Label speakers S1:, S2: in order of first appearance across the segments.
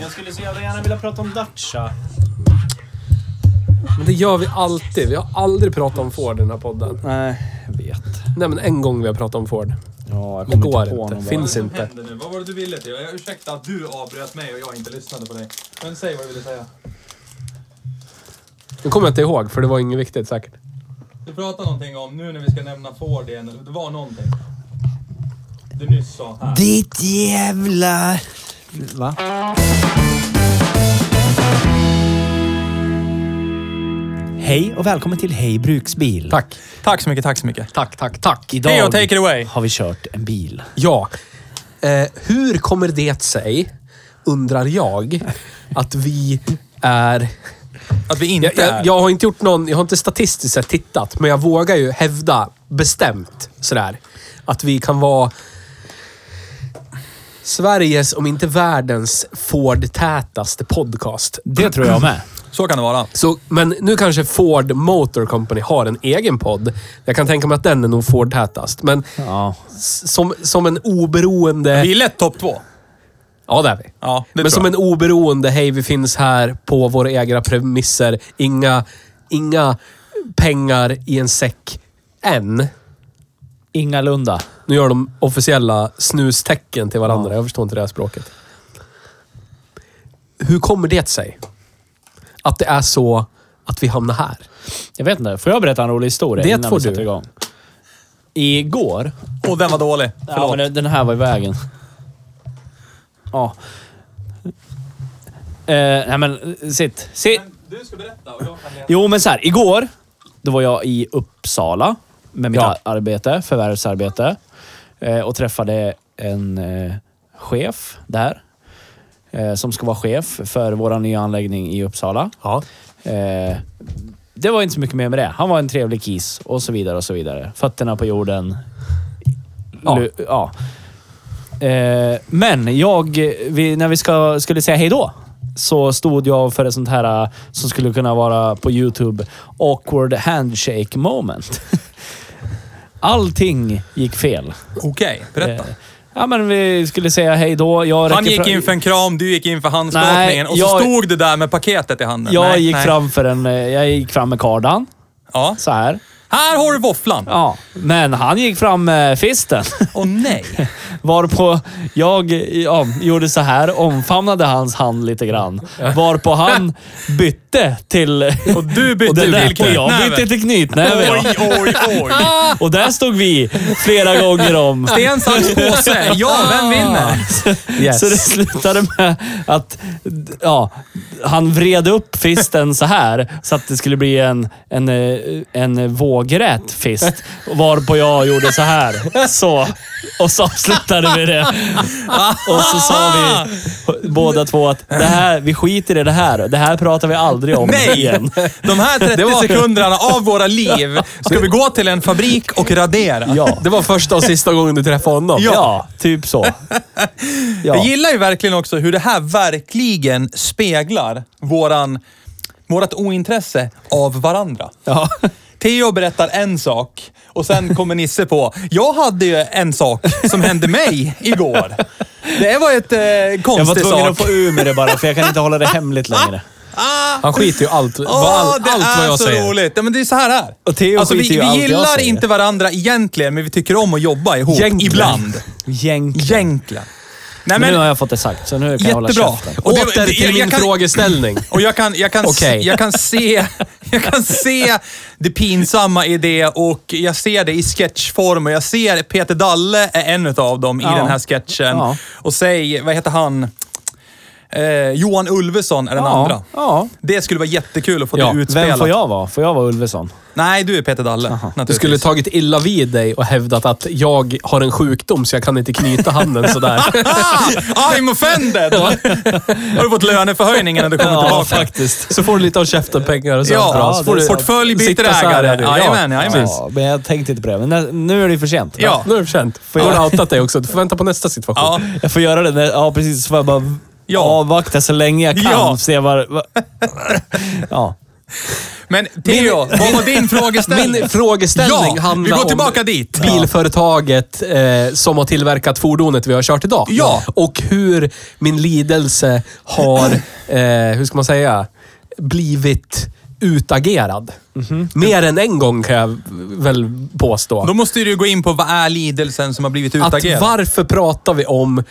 S1: Jag skulle så jävla gärna vilja prata om Dacia.
S2: Men det gör vi alltid. Vi har aldrig pratat om Ford i den här podden.
S3: Nej, jag vet.
S2: Nej, men en gång vi har pratat om Ford.
S3: Ja, jag
S2: Det
S3: kommer
S2: går
S3: inte på
S2: inte.
S3: någon
S2: Finns
S4: Vad
S2: inte.
S4: händer nu? Vad var det du ville till? Jag ursäkta att du avbröt mig och jag inte lyssnade på dig. Men säg vad du ville säga.
S2: Nu kommer jag inte ihåg, för det var inget viktigt säkert.
S4: Du pratade någonting om, nu när vi ska nämna Ford igen, eller det var någonting. Du nyss sa här.
S3: Ditt jävla... Va? Hej och välkommen till Hej Bruksbil.
S2: Tack.
S4: Tack så mycket, tack så mycket.
S2: Tack, tack, tack.
S3: Idag
S4: Theo, take it away.
S3: har vi kört en bil.
S2: Ja. Eh, hur kommer det sig, undrar jag, att vi är...
S4: Att vi inte
S2: Jag, jag, jag har inte gjort någon... Jag har inte statistiskt sett tittat, men jag vågar ju hävda bestämt sådär att vi kan vara Sveriges, om inte världens, Ford-tätaste podcast.
S3: Det tror jag med.
S4: Så kan det vara.
S2: Så, men nu kanske Ford Motor Company har en egen podd. Jag kan tänka mig att den är nog Ford-tätast. Men
S3: Ja.
S2: s- som, som en oberoende...
S4: Vi är lätt topp två.
S2: Ja, det är vi.
S4: Ja, det tror
S2: men som
S4: jag.
S2: en oberoende, hej vi finns här på våra egna premisser. Inga, inga pengar i en säck än.
S3: Ingalunda.
S2: Nu gör de officiella snustecken till varandra. Jag förstår inte det här språket. Hur kommer det sig? Att det är så att vi hamnar här?
S3: Jag vet inte. Får jag berätta en rolig historia
S2: Det
S3: innan
S2: får
S3: vi
S2: du.
S3: sätter igång? Igår
S4: Och den var dålig.
S3: Ja, men
S4: Förlåt.
S3: den- den här var i vägen. Ja. Eh, nej men, sitt. Sitt.
S4: Du ska berätta och jag kan läsa.
S3: Jo, men så här. Igår, då var jag i Uppsala med mitt
S2: Ja.
S3: ar- arbete, förvärvsarbete. Eh, och träffade en eh, chef där. Eh, som ska vara chef för vår nya anläggning i Uppsala.
S2: Ja.
S3: Eh, det var inte så mycket mer med det. Han var en trevlig kis och så vidare och så vidare. Fötterna på jorden.
S2: Ja.
S3: Lu- ja. Eh, men jag, vi, när vi ska, skulle säga hej då så stod jag för ett sånt här eh, som skulle kunna vara på YouTube. Awkward handshake moment. Allting gick fel.
S4: Okej, berätta.
S3: Eh, Ja, men vi skulle säga hej då. Jag
S4: Han
S3: räcker
S4: gick
S3: fra-
S4: in för en kram, du gick in för handskakningen
S3: Nej,
S4: och så
S3: jag-
S4: stod du där med paketet i handen.
S3: jag
S4: Nej,
S3: gick
S4: nej.
S3: fram för en... eh, Jag gick fram med kardan.
S4: Ja.
S3: Så här.
S4: Här har du våfflan. Åh
S3: Ja, men han gick fram med fisten.
S4: nej.
S3: Varpå jag ja, gjorde så här, omfamnade hans hand lite grann. Varpå han bytte till... Och
S4: du bytte
S3: det
S4: till
S3: där- Och
S4: knytnäve.
S3: jag bytte till knytnäve. ja.
S4: Oj, oj, oj.
S3: Och där stod vi flera gånger om.
S4: Sten, sax, påse. Ja, vem vinner?
S2: Yes.
S3: Så det slutade med att ja, han vred upp fisten så här så att det skulle bli en, en, eh, en vågrät fist. Varpå jag gjorde så här. Så. Och så avslutade vi det. Och så sa vi båda två att det här, vi skiter i det här. Det här pratar vi aldrig om
S4: Nej!
S3: igen.
S4: De här 30 sekunderna av våra liv ska vi gå till en fabrik och radera.
S3: Ja.
S2: Det var första och sista gången du träffade honom.
S3: Ja. typ så.
S4: Jag
S3: Ja.
S4: gillar ju verkligen också hur det här verkligen speglar våran, vårat ointresse av varandra.
S3: Ja.
S4: Theo berättar en sak och sen kommer Nisse på. Jag hade ju en sak som hände mig igår. Det var ett eh,
S3: Jag var
S4: konstig
S3: tvungen att
S4: sak.
S3: få ur med det bara, för jag kan inte hålla det hemligt längre.
S2: Han skiter ju allt,
S4: Åh,
S2: vad- allt,
S4: det
S2: allt vad
S4: är
S2: jag
S4: så
S2: säger.
S4: roligt. Ja, men det är så här här.
S3: Och Theo
S4: alltså, vi,
S3: skiter ju i
S4: vi
S3: allt jag
S4: gillar
S3: säger.
S4: inte varandra egentligen, men vi tycker om att jobba ihop.
S2: Egentligen.
S4: Ibland.
S3: Egentligen.
S4: Egentligen. Nej,
S3: men,
S4: men-
S3: nu har jag fått det sagt, så nu kan jag hålla
S4: Jättebra.
S3: käften.
S4: Och det-
S2: Åter
S4: det-
S2: till
S4: jag-
S2: min
S4: jag kan-
S2: frågeställning.
S4: Och jag kan, jag, kan,
S2: Okej.
S4: jag, kan se, jag kan se det pinsamma i det och jag ser det i sketchform och jag ser Peter Dalle är en av dem i
S3: Ja.
S4: den här sketchen.
S3: Ja.
S4: Och säg, vad heter han? Eh, Johan Ulveson är den
S3: Ja,
S4: andra.
S3: ja.
S4: Det skulle vara jättekul att få
S2: Ja,
S4: det
S2: vem
S4: utspelat.
S3: Vem får jag vara? Får jag vara Ulveson?
S4: Nej, du är Peter Dalle. naturligtvis.
S2: Du skulle tagit illa vid dig och hävdat att jag har en sjukdom så jag kan inte knyta handen sådär.
S4: Ah! I'm offended! Har du fått löneförhöjning innan du kommer
S2: Ja,
S4: tillbaka?
S2: faktiskt. Så får du lite av käften pengar och så.
S4: Ja,
S2: bra. så
S4: det
S2: får
S4: är
S2: du
S4: sant. Portfölj byter
S2: sitta så här
S4: ägare.
S2: är det.
S4: Jajamän, jajamän.
S2: precis.
S4: Ja.
S3: men jag tänkte inte på det. Men nä- nu är det ju för sent.
S4: Ja.
S2: Nu är det för sent. Får jag har outat dig också. Du får vänta på nästa situation.
S4: Ja.
S3: Jag får göra det. När, ja, precis. Så får jag bara
S4: Ja.
S3: avvakta så länge jag kan.
S4: Ja.
S3: Se var, var, ja.
S4: Men Theo, vad var din frågeställning?
S2: Min frågeställning
S4: ja,
S2: handlar
S4: vi går
S2: om
S4: tillbaka dit.
S2: bilföretaget eh, som har tillverkat fordonet vi har kört idag.
S4: Ja.
S2: Och hur min lidelse har, eh, hur ska man säga, blivit utagerad.
S4: Mhm.
S2: Mer än en gång kan jag väl påstå.
S4: Då måste du gå in på vad är lidelsen som har blivit
S2: att
S4: utagerad.
S2: varför pratar vi om...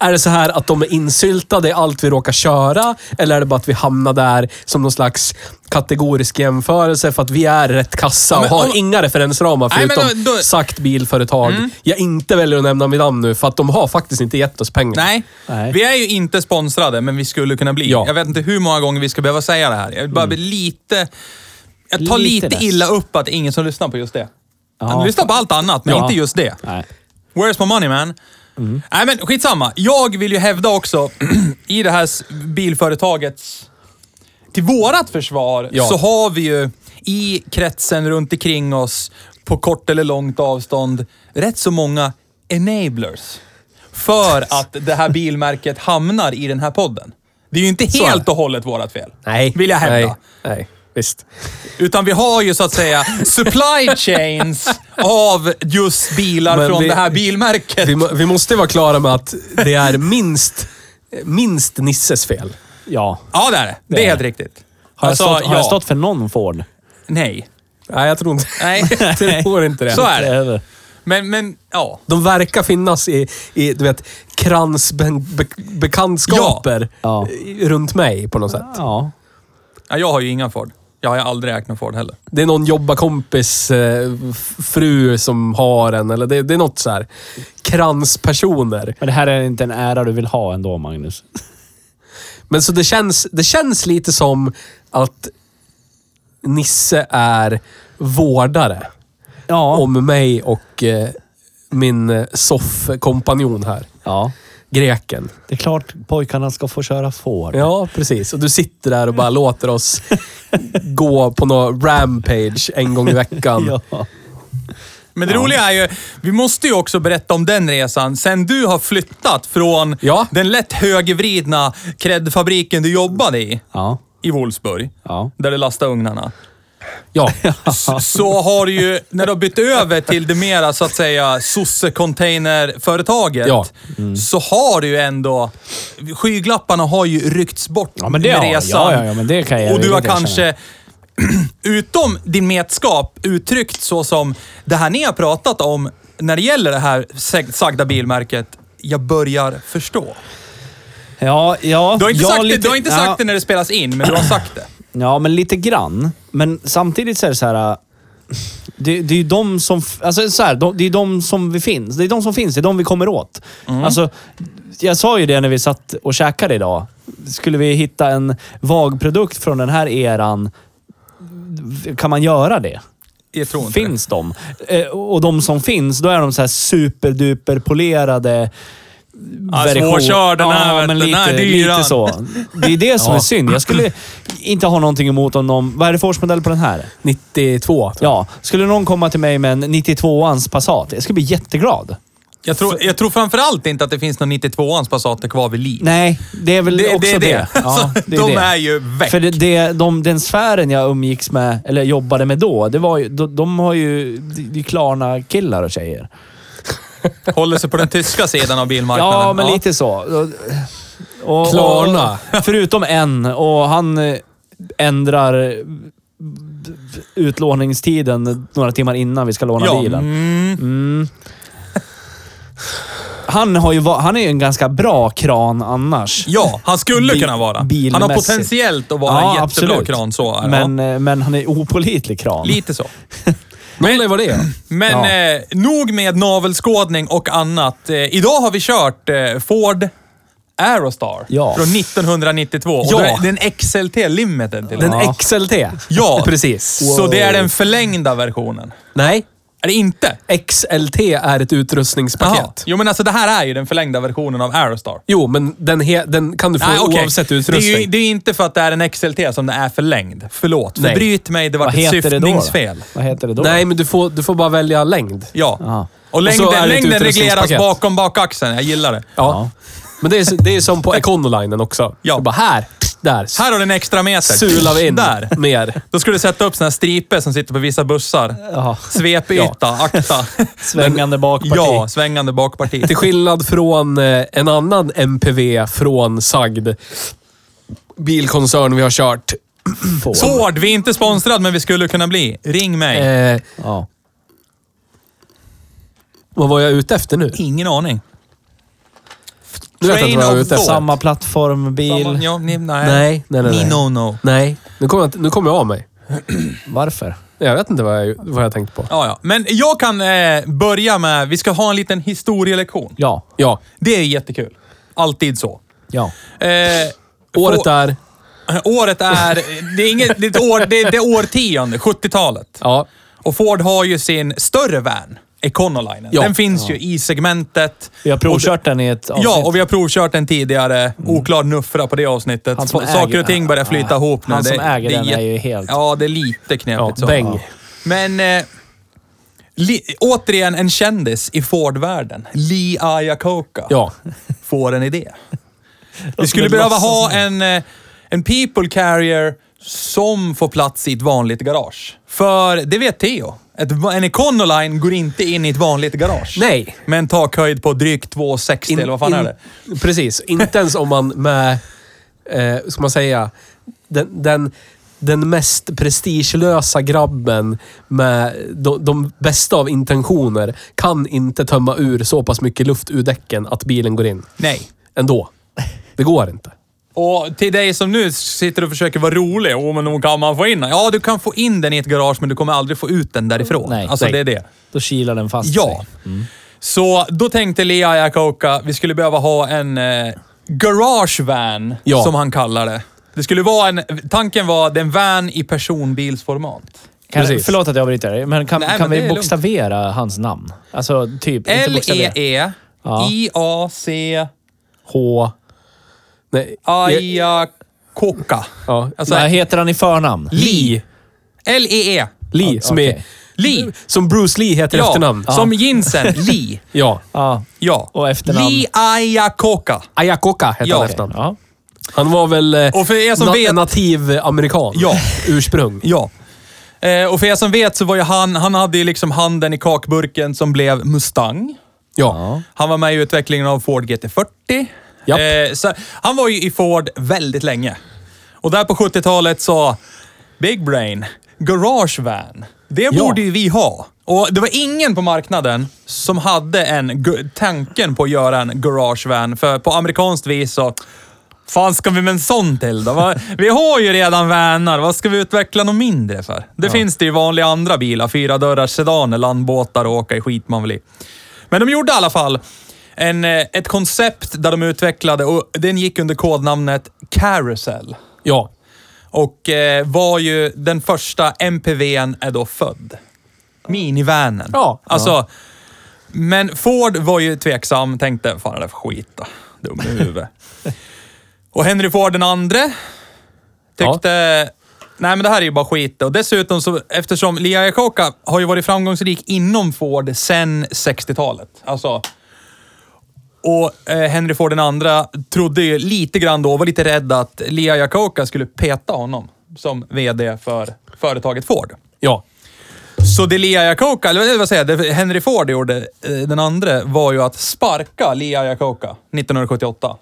S2: Är det så här att de är insyltade i allt vi råkar köra? Eller är det bara att vi hamnar där som någon slags kategorisk jämförelse för att vi är rätt kassa och
S4: Men
S2: har
S4: om-
S2: inga referensramar
S4: Nej, men
S2: förutom
S4: då- Mm. då-
S2: sagt bilföretag. Jag inte väljer att nämna mitt namn nu för att de har faktiskt inte gett oss pengar.
S4: Nej.
S3: Nej.
S4: vi är ju inte sponsrade, men vi skulle kunna bli.
S2: Ja. Mm.
S4: Jag vet inte hur många gånger vi ska behöva säga det här. Jag vill bara bli lite... Jag tar lite,
S3: Lite less.
S4: illa upp att det är ingen som lyssnar på just det.
S3: Ja.
S4: Ja. Lyssnar på allt annat, men
S3: Ja.
S4: inte just det.
S3: Nej.
S4: Where's my money man? Nej men skitsamma. Jag vill ju hävda också, i det här s- bilföretagets... Till vårat försvar
S2: Ja.
S4: så har vi ju i kretsen runt omkring oss, på kort eller långt avstånd, rätt så många enablers. För att det här bilmärket hamnar i den här podden. Det är ju inte
S2: Så är det.
S4: helt och hållet vårat fel.
S2: Nej.
S4: Vill jag hävda.
S2: Nej. Nej. Visst.
S4: Utan vi har ju så att säga supply chains av just bilar
S2: Men
S4: från
S2: vi-
S4: det här bilmärket.
S2: Vi, må- vi måste vara klara med att det är minst, minst Nisses fel.
S3: Ja.
S4: Ja, det är det. Det
S3: Det
S4: är
S3: är
S4: helt riktigt.
S3: Har,
S4: Alltså,
S3: jag stått, har
S4: ja.
S3: jag stått för någon Ford?
S4: Nej.
S2: Nej, jag tror inte,
S4: Nej.
S2: jag tror inte det.
S4: Så är det.
S3: Eller-
S4: Men, men ja.
S2: De verkar finnas i, i du vet, kransbekantskaper
S3: Ja.
S2: runt mig på något sätt.
S3: Ja.
S4: ja. Jag har ju inga Ford. Jag har ju aldrig ägt någon Ford heller.
S2: Det är någon jobbarkompis eh, f- fru som har en, eller det, det är något så här. Kranspersoner.
S3: Men det här är inte en ära du vill ha ändå, Magnus.
S2: Men så det känns, det känns lite som att Nisse är vårdare
S3: Ja.
S2: om mig och eh, min eh, soffkompanjon här.
S3: ja.
S2: Greken.
S3: Det är klart pojkarna ska få köra Ford.
S2: Ja, precis. Och du sitter där och
S4: Mm.
S2: bara låter oss gå på någon rampage en gång i veckan.
S3: Ja.
S4: Men det roliga är ju, vi måste ju också berätta om den resan. Sen du har flyttat från
S2: Ja.
S4: den lätt högervridna kreddfabriken du jobbade i,
S3: Ja.
S4: i Wolfsburg,
S3: Ja.
S4: där du lastade ugnarna.
S2: Ja.
S4: S- så har du ju, när du har bytt över till det mera så att säga sosse-containerföretaget, Mm.
S2: Ja.
S4: så har du ju ändå, skygglapparna har ju ryckts bort
S3: Ja, men det
S4: med
S3: har-
S4: resan.
S3: ja, ja, ja, men det kan jag-
S4: Och du
S3: det
S4: har
S3: kan jag
S4: kanske, utom din metskap, uttryckt så som det här ni har pratat om när det gäller det här seg- sagda bilmärket, jag börjar förstå.
S3: Ja, ja.
S4: Du har inte
S3: ja,
S4: sagt, det,
S3: lite-
S4: du har inte sagt
S3: ja.
S4: det när det spelas in, men du har sagt det.
S3: Ja, men lite grann. Men samtidigt så är det så här... äh, Det, det är ju de som... f- Alltså så här, de, det är de som vi finns. Det är de som finns. Det är de vi kommer åt.
S4: Mm.
S3: Alltså, jag sa ju det när vi satt och käkade idag. Skulle vi hitta en vag produkt från den här eran, kan man göra det?
S4: Jag tror inte det.
S3: finns de. Eh, Och de som finns, då är de så här superduper polerade version.
S4: svårkör, den här vet du, den här dyran.
S3: lite så. Det är det som är synd. Jag skulle inte ha någonting emot om någon... Vad är det för årsmodell på den här?
S2: 92. tror jag.
S3: Ja, skulle någon komma till mig med en 92ans Passat, jag skulle bli jätteglad.
S4: Jag tror, jag tror framförallt inte att det finns någon 92ans Passater kvar vid liv.
S3: Nej, det är väl
S4: Det- det är det.
S3: också det. Ja,
S4: Alltså,
S3: det
S4: de
S3: det.
S4: är ju väck.
S3: För det, det, de, den sfären jag umgicks med, eller jobbade med då, det var ju, de, de har ju... Det är Klarna-killar och tjejer.
S4: Håller sig på den tyska sidan av bilmarknaden.
S3: Ja, men lite så. Och- och-
S2: Klarna.
S3: och- Förutom en och han eh, ändrar eh,
S4: Mm.
S3: Mm. utlåningstiden några timmar innan vi ska låna
S4: Ja.
S3: bilen.
S4: Mm.
S3: han, har ju, va- han är ju en ganska bra kran annars.
S4: Ja, han skulle
S3: Bi-
S4: kunna vara. Han har
S3: bilmässigt.
S4: potentiellt att vara en jättebra kran. Så, är det,
S3: men,
S4: ja.
S3: eh, men han är opålitlig kran.
S4: Lite så.
S2: Men, vad det är.
S4: Men eh, nog med navelskådning och annat. Eh, idag har vi kört eh, Ford Aerostar
S3: Ja.
S4: från 1992.
S2: Ja.
S4: Och det är- det är en XLT Limited till och
S2: Den
S4: med.
S3: Ja.
S2: XLT.
S4: Ja.
S2: Precis.
S4: Så det är den förlängda versionen.
S2: Nej.
S4: Är det inte?
S2: XLT är ett utrustningspaket.
S4: Jaha. Jo, men alltså det här är ju den förlängda versionen av Aerostar.
S2: Jo, men den, he- den kan du få
S4: Nej, okej.
S2: oavsett
S4: Det
S2: utrustning.
S4: är, ju, det är inte för att det är en XLT som den är förlängd. Förlåt,
S2: Nej.
S4: förbryt mig. Det var
S3: Vad
S4: ett
S3: heter det då? då?
S4: syftningsfel.
S3: Vad heter det då?
S2: Nej, men du får, du får bara välja längd.
S4: Ja.
S3: Ja.
S4: Och längden,
S2: så är det ett
S4: längden regleras
S2: utrustningspaket.
S4: bakom bakaxeln. Jag gillar det.
S2: Ja. Men det är, så- det är som på Econolinen också.
S4: Ja.
S2: Du bara här, där.
S4: Här har du en extra meter.
S2: Sular vi in
S4: Där.
S2: mer.
S4: Då ska du sätta upp såna här striper som sitter på vissa bussar.
S3: Ja.
S4: Svepyta, akta.
S3: Svängande bakparti.
S4: Ja, svängande bakparti.
S2: Till skillnad från eh, en annan MPV från sagd bilkoncern vi har kört.
S3: Får.
S4: Ford, vi är inte sponsrad men vi skulle kunna bli. Ring mig.
S2: Eh,
S3: Ja.
S2: vad var jag ute efter nu?
S4: Ingen aning.
S2: Nu vet jag inte vad jag var
S4: Train
S2: ute
S4: of
S2: efter.
S4: thought.
S3: Samma plattformbil.
S4: Samma- Ja, ni, nej.
S2: Nej, nej, nej. nej.
S4: Ni no no.
S2: Nej, nu kommer jag, inte- nu kommer jag av mig.
S3: Varför?
S2: Jag vet inte vad jag, vad jag tänkte på.
S4: Ja, ja. Men jag kan eh, börja med, vi ska ha en liten historielektion.
S3: Ja.
S2: Ja,
S4: Det är jättekul. Alltid så.
S3: Ja.
S4: Eh,
S2: året
S4: få-
S2: är...
S4: Året är... Det är, inget, det är, ett år, det är, det är årtionde, 70-talet.
S2: Ja,
S4: Och Ford har ju sin större van, Econoline.
S2: Ja.
S4: Den finns ju i segmentet.
S3: Vi har provkört den i ett avsnitt. Mm.
S4: Ja, och vi har provkört den tidigare. Oklar nuffra på det avsnittet.
S3: Han som
S4: S- Saker
S3: äger-
S4: och ting börjar flyta
S3: Ja,
S4: ihop nu.
S3: han som
S4: det,
S3: äger den är
S4: jätte-
S3: ju helt-
S4: Ja, det är lite knepigt
S2: Ja,
S4: så.
S2: bäng.
S4: Ja. Men... Eh, Li, återigen en kändis i Ford-världen. Lee Iacocca
S2: ja.
S4: får en idé. Vi
S3: det
S4: skulle behöva
S3: låtsas
S4: ha en, eh, en people carrier som får plats i ett vanligt garage. För det vet Theo. Ett, en Econoline går inte in i ett vanligt garage.
S2: Nej.
S4: Med en takhöjd på drygt 2,60 eller vad fan är det?
S2: in- Precis. Inte ens om man med, eh, ska man säga, den, den, den mest prestigelösa grabben med de, de bästa av intentioner kan inte tömma ur så pass mycket luft ur däcken att bilen går in.
S4: Nej.
S2: Ändå. Det går inte.
S4: Och till dig som nu sitter och försöker vara rolig. Åh, men nog kan man få in den. Ja, du kan få in den i ett garage, men du kommer aldrig få ut den därifrån.
S3: Nej.
S4: alltså,
S3: Nej.
S4: det är det.
S3: Då kilar den fast
S4: Ja. Så då tänkte Lea Jakoka, vi skulle behöva ha en eh, garage van,
S2: Ja.
S4: som han kallar det. Det skulle vara en... Tanken var den van i personbilsformat.
S3: Kan,
S2: Precis.
S3: förlåt att jag avbryter dig, men kan,
S4: Nej,
S3: kan
S4: men det är
S3: vi
S4: lugnt. E
S3: bokstavera hans namn? Alltså, typ... inte bokstavera.
S4: L-E-E,
S3: Ja.
S4: I-A-C,
S2: H... Nej.
S4: Ajakoka.
S2: Ja.
S4: Alltså,
S3: Vad heter han i förnamn?
S2: Lee.
S4: L-E-E.
S2: Lee, som
S3: okej.
S2: är...
S4: Lee.
S2: Som Bruce Lee heter i efternamn.
S4: Ja, som Jinsen. Lee.
S2: Ja.
S3: Ja.
S4: Ja.
S3: Och efternamn?
S4: Lee Ajakoka.
S2: Ayakoka heter
S4: Ja.
S2: han i efternamn.
S3: ja.
S2: Han var väl eh,
S4: Och för er som vet-
S2: nativ amerikan.
S4: Ja.
S2: Ursprung.
S4: Ja. Eh, och för er som vet så var ju han, han hade ju liksom handen i kakburken som blev Mustang.
S2: Ja.
S4: Han var med i utvecklingen av Ford GT40.
S2: Japp.
S4: Eh, så han var ju i Ford väldigt länge. Och där på 70-talet sa Big Brain, Garage Van. Det
S2: Ja.
S4: borde ju vi ha. Och det var ingen på marknaden som hade en gu- tanken på att göra en Garage Van. För på amerikanskt vis så... Fan ska vi med en sån till då? Va- Vi har ju redan vanar. Vad ska vi utveckla något mindre för? Det finns det ju vanliga andra bilar. Fyra dörrar sedaner, landbåtar och åka i skit man vill i. Men de gjorde i alla fall en, eh, ett koncept där de utvecklade och den gick under kodnamnet Carousel.
S2: Ja.
S4: Och eh, var ju den första MPVn är då född. Minivanen.
S2: Ja.
S4: Alltså, men Ford var ju tveksam, tänkte fan det där för skit då. Dum i huvudet. och Henry Ford den andre tyckte, nej men det här är ju bara skit. Och dessutom så, eftersom Lia Iacocca har ju varit framgångsrik inom Ford sedan 60-talet. Alltså, och eh, Henry Ford den andra trodde ju lite grann då, var lite rädd att Lia Iacocca skulle peta honom som VD för företaget Ford.
S2: Ja.
S4: Så det Lia Iacocca, eller vad säger jag, det Henry Ford gjorde, eh, den andra var ju att sparka Lia Iacocca 1978.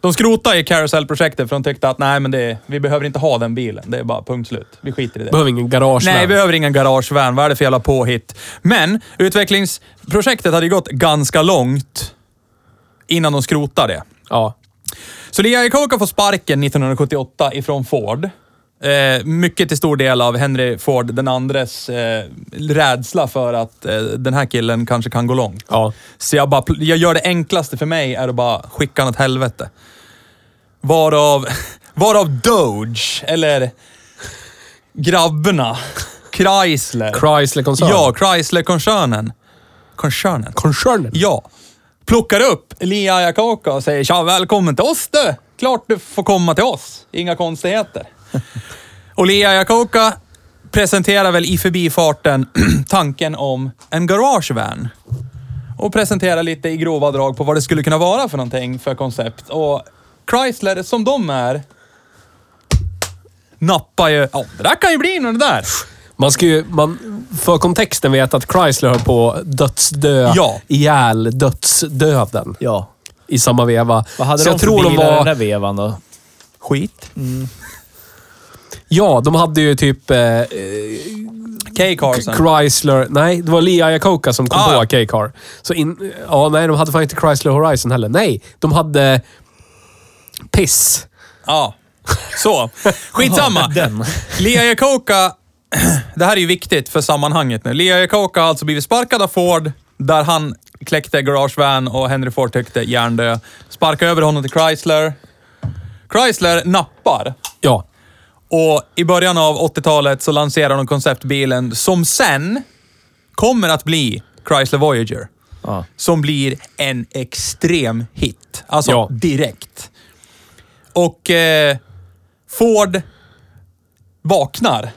S4: De skrotade i Carousel-projektet för de tyckte att nej, men det, vi behöver inte ha den bilen. Det är bara punkt slut. Vi skiter i det.
S2: Behöver ingen garage.
S4: Nej,
S2: där.
S4: vi behöver ingen garagevan. Vad är det för jävla påhitt? Men utvecklingsprojektet hade ju gått ganska långt innan de skrotar det.
S2: Ja.
S4: Så Lee Iacocca får sparken 1978 ifrån Ford. Eh, mycket till stor del av Henry Ford den andres eh, rädsla för att eh, den här killen kanske kan gå långt.
S2: Ja.
S4: Så jag, bara, jag gör det enklaste för mig är att bara skicka honom åt helvete. Varav, varav Doge, eller grabbarna, Chrysler.
S2: Chrysler-koncernen.
S4: Ja, Chrysler-koncernen. Koncernen.
S2: Koncernen.
S4: Ja. Plockar upp Elia Ayakaka och säger tja, välkommen till oss du! Klart du får komma till oss. Inga konstigheter. och Elia Ayakaka presenterar väl i förbifarten tanken om en garagevan. Och presenterar lite i grova drag på vad det skulle kunna vara för någonting för koncept. Och Chrysler, som de är, nappar ju... Ja, det där kan ju bli något det där.
S2: Man ska ju, man, för kontexten vet att Chrysler höll på att dödsdö
S4: Ja.
S2: ihjäl dödsdöden
S3: Ja.
S2: i samma veva.
S3: Vad hade
S2: Så
S3: de
S2: jag
S3: för
S2: tror de
S3: bilar i den
S2: var...
S3: där vevan då?
S4: Skit.
S2: Ja, de hade ju typ eh, eh,
S4: K. Carson.
S2: Chrysler... Nej, det var Lee Iacocca som kom
S4: Ah, ja.
S2: på K-Car. Så in, ja, nej, de hade fan inte Chrysler Horizon heller. Nej, de hade... Piss.
S4: Ja. Så. Skitsamma. Den. Lea Iacocca. Det här är ju viktigt för sammanhanget nu. Lea Iacocca har alltså blivit sparkad av Ford, där han kläckte garagevan och Henry Ford tyckte hjärndö. Sparkar över honom till Chrysler. Chrysler nappar.
S2: Ja.
S4: Och i början av 80-talet så lanserar de konceptbilen som sen kommer att bli Chrysler Voyager.
S3: Ja.
S4: Som blir en extrem hit. Alltså
S2: Ja.
S4: direkt. Och eh, Ford vaknar.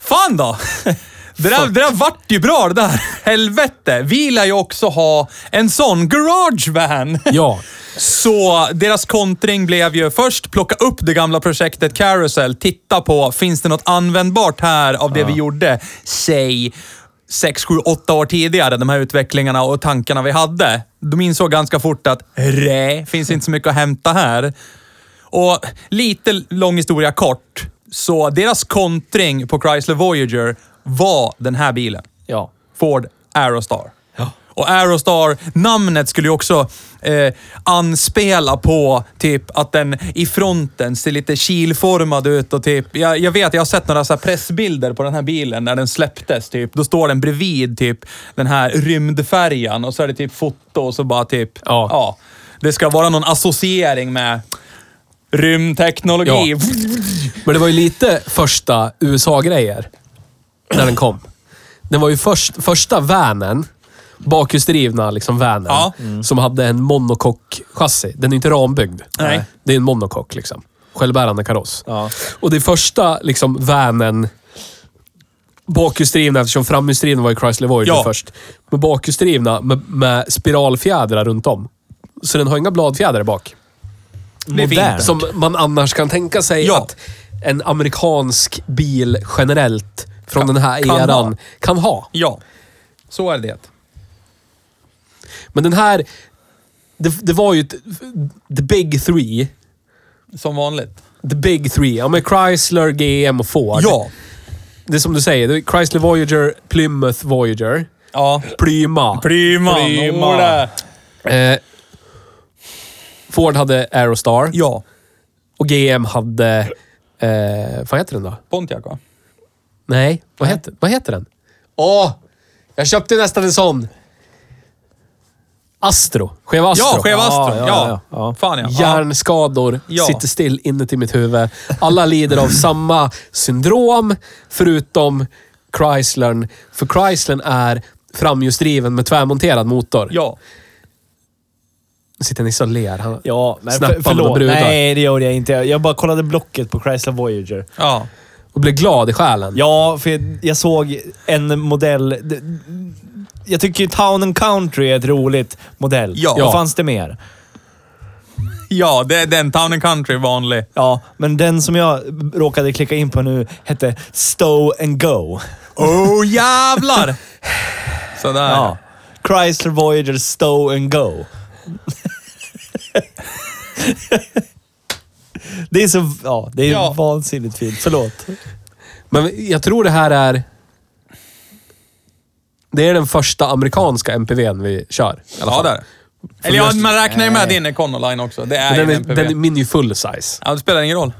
S4: Fan då! Det där, det där vart ju bra det där. Helvete! Vi lär ju också ha en sån garage van.
S2: Ja.
S4: Så deras kontring blev ju först plocka upp det gamla projektet Carousel, titta på, finns det något användbart här av det vi gjorde? Säg 6, 7, 8 år tidigare, de här utvecklingarna och tankarna vi hade. De insåg ganska fort att, rä, finns inte så mycket att hämta här. Och lite lång historia kort, så deras kontring på Chrysler Voyager var den här bilen.
S3: Ja.
S4: Ford Aerostar. Och Aerostar, namnet skulle ju också eh, anspela på typ att den i fronten ser lite kilformad ut och typ, jag, jag vet, jag har sett några så här pressbilder på den här bilen när den släpptes typ. Då står den bredvid typ den här rymdfärjan och så är det typ foto och så bara typ,
S2: Ja.
S4: ja det ska vara någon associering med rymdteknologi.
S2: Men det var ju lite första USA-grejer när den kom. Den var ju först, första vanen, bakhjulsdrivna liksom vanen,
S4: Ja.
S2: som hade en monokock-chassi. Den är inte rambyggd.
S4: Nej.
S2: Det är en monokock liksom. Självbärande kaross.
S3: Ja.
S2: Och det är första liksom vanen, bakhjulsdrivna, eftersom framhjulsdrivna var ju Chrysler Voyager
S4: Ja.
S2: först. Men bakhjulsdrivna med, med spiralfjädrar runt om. Så den har inga bladfjädrar bak.
S4: det är
S3: Modern.
S4: fint.
S2: Som man annars kan tänka sig
S4: Ja.
S2: att en amerikansk bil generellt från den här
S4: kan
S2: eran
S4: ha.
S2: kan ha.
S4: Ja, så är det.
S2: Men den här... Det, det var ju ett, the big three.
S4: Som vanligt.
S2: The big three. Ja, men Chrysler, GM och Ford.
S4: Ja.
S2: Det är som du säger. det är Chrysler Voyager, Plymouth Voyager.
S4: Ja.
S2: Plyma.
S4: Prima.
S3: Prima.
S2: eh, Ford hade Aerostar.
S4: Ja.
S2: Och GM hade... Eh, vad heter den då?
S4: Pontiac va?
S2: Nej, vad, Heter, vad heter den? Åh! Jag köpte nästan en sån. Astro. Cheva Astro.
S4: Ja, Cheva Astro. Ja,
S3: Ja, ja, ja.
S4: Fan ja. ja.
S2: Hjärnskador
S4: Ja.
S2: sitter still inuti mitt huvud. Alla lider av samma syndrom, förutom Chryslern. För Chryslern är framhjulsdriven med tvärmonterad motor.
S4: Ja.
S2: Nu Sitter Nisse och ler. Han,
S3: Ja, men
S2: Snappar
S3: för,
S2: med
S3: förlåt.
S2: brudar.
S3: Nej, det gjorde jag inte. Jag bara kollade blocket på Chrysler Voyager.
S4: ja.
S2: Och blir glad i själen.
S3: Ja, för jag, jag såg en modell. d- Jag tycker ju Town and Country är ett roligt modell.
S4: Ja.
S3: Då fanns det mer.
S4: Ja, det är den. Town and country, vanlig.
S3: Ja, men den som jag råkade klicka in på nu hette Stow and Go.
S4: Oh jävlar! Sådär.
S3: Ja. Chrysler Voyager Stow and Go. det är så... Ja, det är
S4: Ja.
S3: vansinnigt fint. Förlåt.
S2: Men jag tror det här är... Det är den första amerikanska MPVn vi kör. i alla
S4: Ja,
S2: fall.
S4: där. Eller ja, man räknar ju med din Econoline också. Det är
S2: Men
S4: ju
S2: den,
S4: en
S2: är,
S4: MPV.
S2: den är min är ju full size.
S4: Ja, det spelar ingen roll.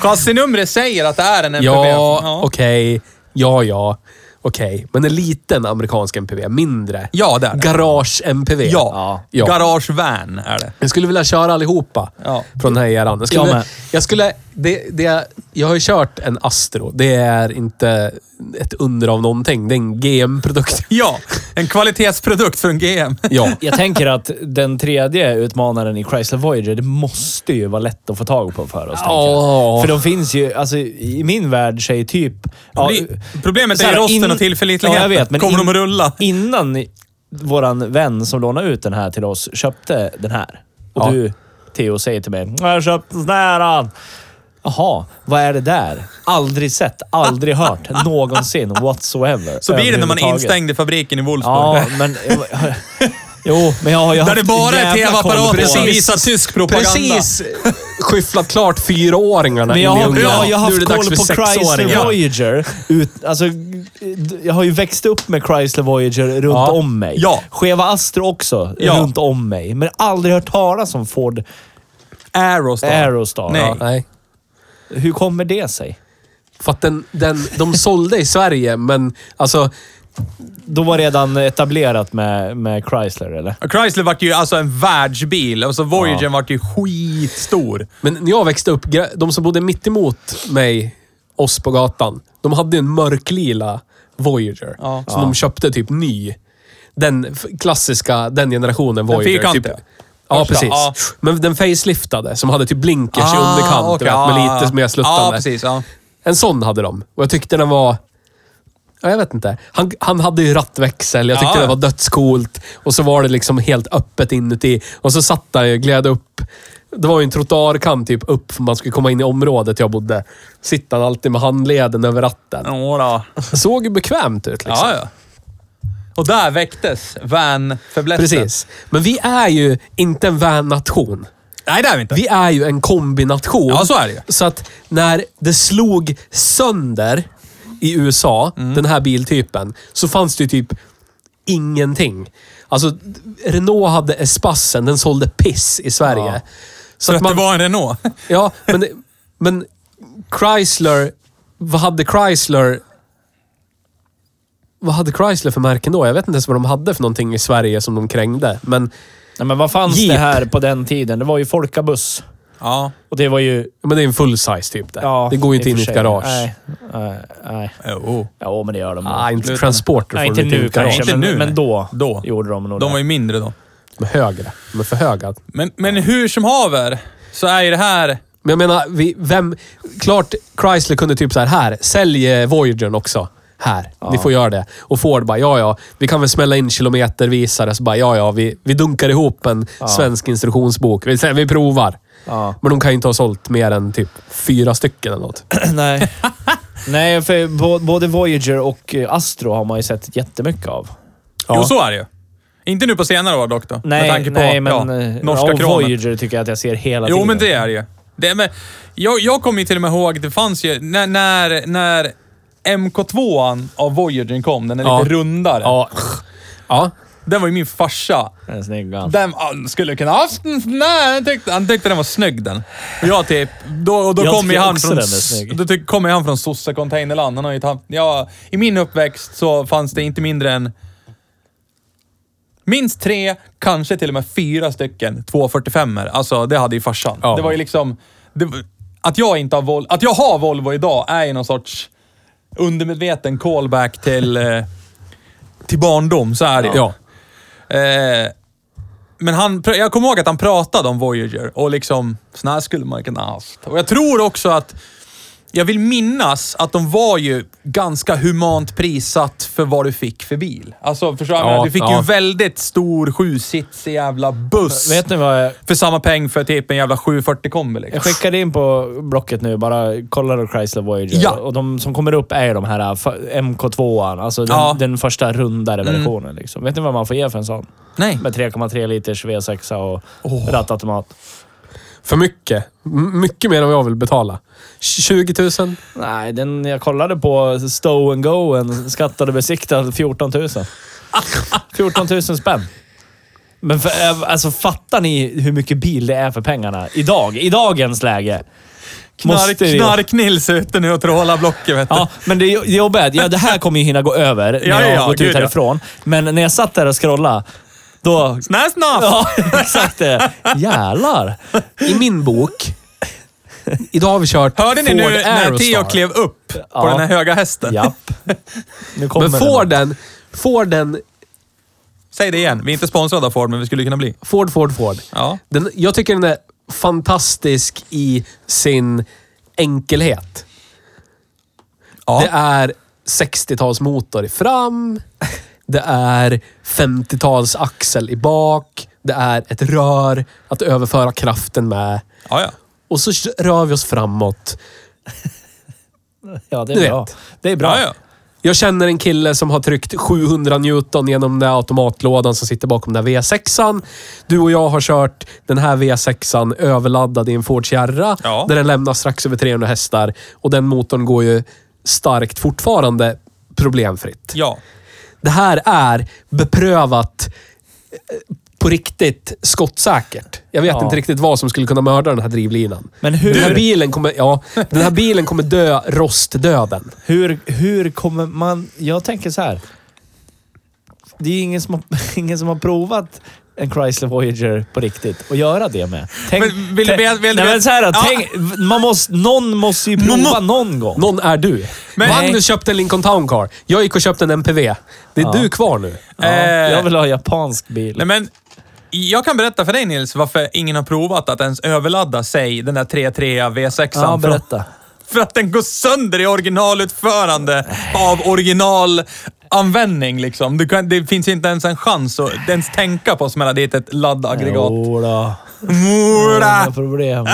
S4: Chassinumret säger att det är en MPV.
S2: Ja, okej. Ja, ja. Okej. Men en liten amerikansk MPV. Mindre.
S4: Ja, det är det.
S2: Garage-MPV.
S4: Ja.
S2: ja.
S4: Garage van är det.
S2: Jag skulle vilja köra allihopa
S4: Ja.
S2: från den här eran. Jag, skulle,
S5: Jag
S2: jag,
S5: med.
S2: skulle... Det, det, jag har ju kört en Astro. Det är inte ett under av någonting. Det är en GM-produkt.
S4: Ja, en kvalitetsprodukt från GM.
S2: Ja.
S3: Jag tänker att den tredje utmanaren i Chrysler Voyager, det måste ju vara lätt att få tag på för oss. tänker jag.
S2: Ja.
S3: För de finns ju, alltså i min värld säger typ... Ja,
S4: Bli- Problemet
S3: så
S4: är
S3: här,
S4: ju rosten
S3: in-
S4: och tillförlitligheten.
S3: Ja, jag vet, men
S4: Kommer
S3: in-
S4: de att rulla?
S3: innan våran vän som lånade ut den här till oss köpte den här. Och
S2: Ja.
S3: du, Theo, säger till mig “Jag köpte den här!” Jaha, vad är det där? Aldrig sett, aldrig hört, någonsin, whatsoever.
S4: Så blir det när man är
S3: överhuvudtaget.
S4: instängd i fabriken i Wolfsburg.
S3: Ja, men... Jo, men jag har ju
S4: Där det bara är
S3: jävla koll på
S4: tv-apparater som
S3: det.
S4: visar tysk propaganda.
S2: Precis skyfflat klart fyraåringarna
S3: Men
S2: in
S3: jag
S2: i
S3: har,
S2: Ungern.
S3: jag har ju
S2: Nu
S3: haft
S2: är det dags
S3: koll
S2: för
S3: på Chrysler
S2: sexåringar.
S3: Voyager. Ut, alltså, d- jag har ju växt upp med Chrysler Voyager runt
S2: Ja.
S3: om mig.
S4: Ja.
S3: Cheva Astro också
S4: Ja.
S3: runt om mig. Men aldrig hört talas om Ford
S4: Aerostar.
S3: Aerostar.
S4: Nej.
S3: Ja.
S2: Nej.
S3: Hur kommer det sig?
S2: För att den, den, de sålde i Sverige, men alltså...
S3: De var redan etablerat med, med Chrysler, eller?
S4: Och Chrysler vart ju alltså en världsbil och så Voyager vart ju skitstor.
S2: Men när jag växte upp, gra- de som bodde mitt emot mig, oss på gatan, de hade ju en mörklila Voyager.
S4: Ja.
S2: Som de köpte typ ny. Den f- klassiska, den generationen Voyager.
S4: fyrkantiga.
S2: Typ. Ja,
S4: Första,
S2: precis.
S4: ja.
S2: Men den faceliftade, som hade typ blinkers i
S4: Ah,
S2: underkant.
S4: okej,
S2: du vet, med
S4: ah,
S2: lite mer sluttande.
S4: Ja, precis. Ja.
S2: En sån hade de. Och jag tyckte den var... Ja, jag vet inte. Han, han hade ju rattväxel. Jag tyckte
S4: Ja.
S2: det var dödscoolt. Och så var det liksom helt öppet inuti. Och så satt han ju och gled upp. Det var ju en trottoarkant typ upp för man skulle komma in i området jag bodde. Sitter han alltid med handleden över ratten.
S4: Nå då.
S2: Såg ju bekvämt ut liksom.
S4: Ja, ja. Och där väcktes van-fäblessen.
S2: Precis. Men vi är ju inte en van-nation.
S4: Nej, det är vi inte.
S2: Vi är ju en kombination.
S4: Ja, så är det ju.
S2: Så att när det slog sönder i USA,
S4: Mm.
S2: den här biltypen, så fanns det ju typ ingenting. Alltså, Renault hade Espassen, den sålde piss i Sverige. Så
S4: För
S2: att
S4: att
S2: man,
S4: det var en Renault.
S2: Ja, men, men Chrysler, vad hade Chrysler vad hade Chrysler för märken då? Jag vet inte ens vad de hade för någonting i Sverige som de krängde. Men,
S3: Nej, men vad fanns
S2: Jeep.
S3: det här på den tiden? Det var ju Folkabuss.
S4: Ja.
S3: Och det var ju...
S2: men det är en full size typ det.
S3: Ja,
S2: det går ju inte
S3: i och
S2: in i
S3: för
S2: ett
S3: sig.
S2: garage.
S3: Nej, nej, nej.
S4: Oh.
S3: Ja, men det gör de nog.
S2: Ah, inte
S4: Utan-
S2: transporter
S3: Nej,
S2: får
S3: inte
S2: du
S3: nu
S2: inte
S3: kanske,
S4: Inte
S3: men,
S4: nu, nej.
S3: men då,
S4: Då.
S3: gjorde de nog
S4: De
S3: det.
S4: var ju mindre då.
S2: De är högre. De är för höga.
S4: Men, men hur som haver så är ju det här...
S2: Men jag menar, vi, vem... Klart Chrysler kunde typ så här, här, sälj eh, Voyagern också. Här, ni får göra det. Och Ford bara, ja ja, vi kan väl smälla in kilometervisare. Så bara, ja ja, vi, vi dunkar ihop en svensk instruktionsbok. Vi, vi provar.
S3: Ja.
S2: Men de kan ju inte ha sålt mer än typ fyra stycken eller något.
S3: Nej. Nej, för bå- både Voyager och eh, Astro har man ju sett jättemycket av.
S4: Jo, så är det ju. Inte nu på senare år dock då. med
S3: Nej,
S4: tanke på
S3: nej men
S4: ja,
S3: eh,
S4: norska
S3: ja, och
S4: kronan.
S3: Voyager tycker jag att jag ser hela
S4: Jo,
S3: tiden.
S4: men det är det ju. Det, är- men, jag, jag kommer ju till och med ihåg, det fanns ju, när, när, när MK2 av Voyagern kom, den är
S2: Ja.
S4: lite rundare.
S2: Ja. Ja.
S4: Den var ju min farsa.
S3: Den är snygg han.
S4: Den han skulle kunna haft en sån där. Han tyckte, han tyckte den var snygg den. Jag typ, då, och då
S3: Jag
S4: kommer ju
S3: tycker
S4: han
S3: också
S4: från,
S3: den är snygg.
S4: då tyck, kommer han från sosse-containerland. Han har ju inte haft, ja, I min uppväxt så fanns det inte mindre än minst tre, kanske till och med fyra stycken 245 er Alltså det hade ju farsan.
S2: Ja.
S4: Det var ju liksom, det, var- att, jag inte har Vol- att jag har Volvo idag är ju någon sorts undermedveten callback till, eh, till barndom. Så är det ju.
S2: Ja.
S4: Eh, men han, pr- jag kommer ihåg att han pratade om Voyager och liksom, sån här skulle man kunna ha haft. Och jag tror också att, jag vill minnas att de var ju ganska humant prissatt för vad du fick för bil. Alltså, förstår du? Jag
S2: Ja,
S4: menar, du fick ju
S2: ja.
S4: en väldigt stor sjusitsig jävla buss.
S3: Vet ni vad jag...
S4: för samma peng för typ en jävla 740 kombi liksom.
S3: Jag skickade in på Blocket nu, bara kollade Chrysler Voyager.
S4: Ja.
S3: Och de som kommer upp är ju de här eh, fa- MK2an, alltså den,
S4: Ja. Mm.
S3: den första rundare versionen. Liksom. Vet ni vad man får ge för en sån?
S4: Nej.
S3: Med 3,3 liters V6 och rattautomat.
S2: För mycket. M- mycket mer än vad jag vill betala. 20 000?
S3: Nej, den jag kollade på Stow and Go, en skattade besiktad 14 000. 14 000 spänn. Men för, eh, alltså, fattar ni hur mycket bil det är för pengarna idag? I dagens läge.
S4: Knark,
S3: Måste vi-
S4: Knark-Nils är ute nu och trålar blocket vet du.
S3: Ja, men det det jobbiga är att ja, det här kommer ju hinna gå över när
S4: Ja,
S3: jag
S4: ja,
S3: har gått
S4: gud,
S3: ut
S4: ja.
S3: härifrån. Men när jag satt där och scrollade, då...
S4: Snäs nas!
S3: Ja, exakt det. Jävlar.
S2: I min bok. Idag har vi kört
S4: Hörde ni
S2: Ford
S4: nu när Theo
S2: Aerostar.
S4: klev upp på
S3: Ja.
S4: den här höga hästen?
S3: Japp. Nu kommer
S2: Men
S3: det.
S2: Forden, Forden,
S4: Säg det igen. Vi är inte sponsrade av Ford, men vi skulle kunna bli.
S2: Ford, Ford, Ford.
S4: Ja.
S2: Den, jag tycker den är fantastisk i sin enkelhet.
S4: Ja.
S2: Det är 60-talsmotor i fram. Det är 50-tals axel i bak. Det är ett rör att överföra kraften med.
S4: ja, ja.
S2: Och så rör vi oss framåt.
S3: Ja, det
S2: Du
S3: är bra.
S2: vet.
S3: Det är bra.
S4: ja, ja.
S2: Jag känner en kille som har tryckt 700 Newton genom den där automatlådan som sitter bakom den där V6an. Du och jag har kört den här V6an överladdad i en Ford Sierra.
S4: Ja.
S2: Där den lämnar strax över 300 hästar. Och den motorn går ju starkt fortfarande problemfritt.
S4: ja.
S2: Det här är beprövat eh, på riktigt skottsäkert. Jag vet
S3: Ja.
S2: inte riktigt vad som skulle kunna mörda den här drivlinan.
S3: Men hur-
S2: Den här bilen kommer, ja, den här bilen kommer dö rostdöden.
S3: Hur, hur kommer man... Jag tänker så här. Det är ju ingen som har, ingen som har provat en Chrysler Voyager på riktigt och göra det med. Tänk,
S4: Men vill du be- vill du be-
S3: nej, men så här,
S4: Ja.
S3: tänk, man måste, någon måste ju prova någon gång.
S2: Någon är du.
S4: Men-
S2: Magnus köpte en Lincoln Town Car. Jag gick och köpte en MPV. Det är du kvar nu.
S3: Ja,
S4: Eh,
S3: jag vill ha japansk bil.
S4: Nej, men jag kan berätta för dig Nils varför ingen har provat att ens överladda sig den där 3.3 V6an.
S3: ja,
S4: från-
S3: berätta.
S4: För att den går sönder i originalutförande av originalanvändning liksom. Du kan, det finns inte ens en chans att ens tänka på att smälla dit ett laddaggregat.
S3: Jodå. Inga
S4: Mora!
S3: problem.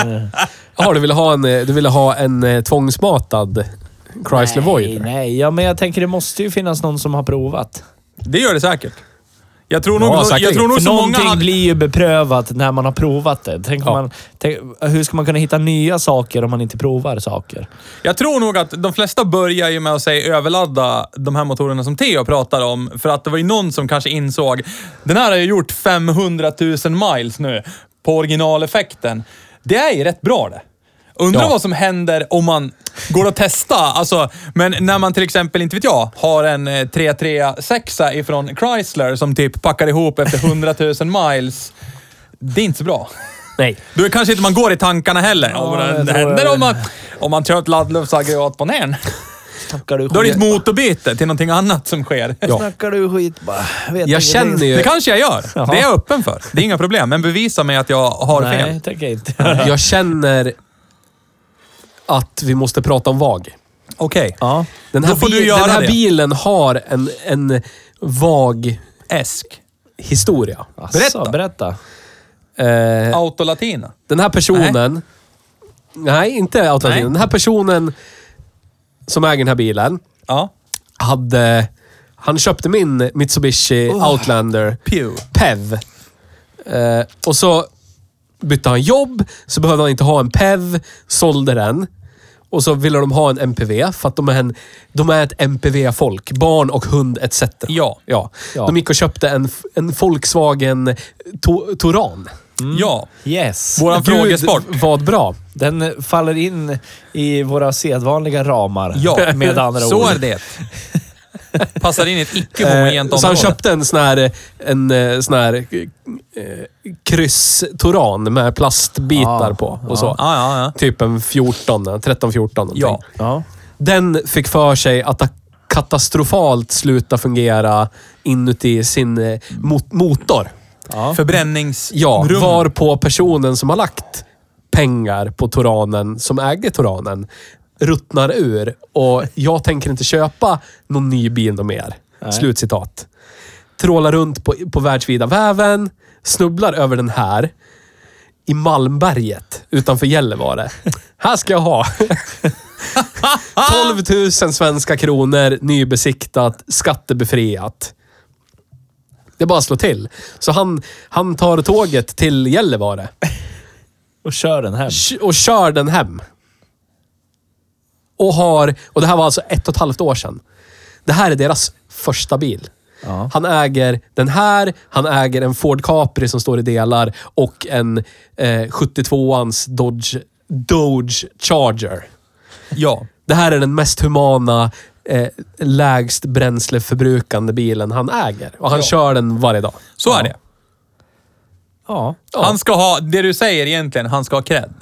S2: Jaha, du ville ha en, eh, du ville ha en eh, tvångsmatad Chrysler
S3: nej,
S2: Voyager?
S3: nej. Ja, men jag tänker det måste ju finnas någon som har provat.
S4: Det gör det säkert. Jag tror nog,
S2: Ja,
S4: jag
S2: säkerligen.
S4: tror nog
S3: För
S4: så många
S3: någonting
S4: hade...
S3: blir ju beprövat när man har provat det. Tänk om
S2: Ja.
S3: man, tänk, hur ska man kunna hitta nya saker om man inte provar saker?
S4: Jag tror nog att de flesta börjar ju med att säga överladda de här motorerna som Theo pratar om. För att det var ju någon som kanske insåg, den här har ju gjort 500 000 miles nu på originaleffekten. Det är ju rätt bra det. Undrar
S2: Ja.
S4: vad som händer om man går och testa. Alltså, men när man till exempel, inte vet jag, har en eh, 336 ifrån Chrysler som typ packar ihop efter 100 000 miles. Det är inte så bra.
S2: Nej.
S4: Då är kanske inte man går i tankarna heller. Ja,
S3: jag
S4: men det
S3: tror
S4: händer
S3: jag-
S4: om man, om man kör ett laddluftsaggregat på nären.
S3: Snackar du
S4: Då är det ett motorbyte till någonting annat som sker.
S2: Ja.
S3: Snackar du skit bara. Vet
S2: Jag
S3: ingenting.
S2: känner ju...
S4: Det kanske jag gör.
S3: Ja.
S4: Det är jag öppen för. Det är inga problem. Men bevisa mig att jag har
S3: Nej,
S4: fel.
S3: tänker jag inte.
S2: Jag känner att vi måste prata om VAG.
S4: Okej.
S3: Ja.
S2: Den här,
S4: Då får du
S2: bil-
S4: göra
S2: den här
S4: det.
S2: bilen har en, en vag
S4: Esk.
S2: historia.
S3: Asså,
S4: Berätta.
S3: berätta.
S2: Eh,
S4: Autolatina.
S2: den här personen... Nej, inte
S4: Nej.
S2: automatiskt. Den här personen som äger den här bilen
S4: Ja.
S2: hade... Han köpte min Mitsubishi Outlander
S4: Pew.
S2: PEV. Eh, och så bytte han jobb, så behövde han inte ha en PEV, sålde den. Och så ville de ha en MPV, för att de är, en, de är ett MPV-folk. Barn och hund etc.
S4: Ja.
S2: ja.
S3: Ja.
S2: De gick och köpte en, en Volkswagen to, Touran.
S4: Ja.
S3: Yes.
S4: Våran
S2: Gud,
S4: frågesport.
S2: vad bra.
S3: Den faller in i våra sedvanliga ramar.
S4: Ja.
S3: Med andra
S4: Så
S3: ord.
S4: är det. Passar in i ett
S2: Eh,
S4: icke-homogent
S2: så han
S4: område.
S2: köpte en sån här, en eh, sån här eh, kryss-Touran med plastbitar
S3: Ah,
S2: på och så.
S4: Ja, ja, ja.
S2: Typ en 14, 13-14 någonting.
S4: Ja.
S3: Ja.
S2: Den fick för sig att ta- katastrofalt sluta fungera inuti sin eh, mot motor.
S3: Ja.
S2: Ja,
S4: Förbränningsrum.
S2: var på personen som har lagt pengar på Toranen, som ägde Toranen, ruttnar ur och jag tänker inte köpa någon ny bil någon mer. Slutcitat. Trålar runt på, på världsvida väven, snubblar över den här i Malmberget utanför Gällivare. Här ska jag ha. 12 000 svenska kronor, nybesiktat, skattebefriat. Det bara slår till. Så han, han tar tåget till Gällivare
S3: Och kör den här.
S2: k- och kör den hem. Och har, och det här var alltså ett och ett halvt år sedan. Det här är deras första bil.
S3: Ja.
S2: Han äger den här, han äger en Ford Capri som står i delar och en eh, 72ans Dodge, Dodge Charger.
S6: Ja.
S2: Det här är den mest humana, eh, lägst bränsleförbrukande bilen han äger. Och han kör den varje dag.
S4: Så är det.
S3: Ja.
S4: Han ska ha, det du säger egentligen, han ska ha cred.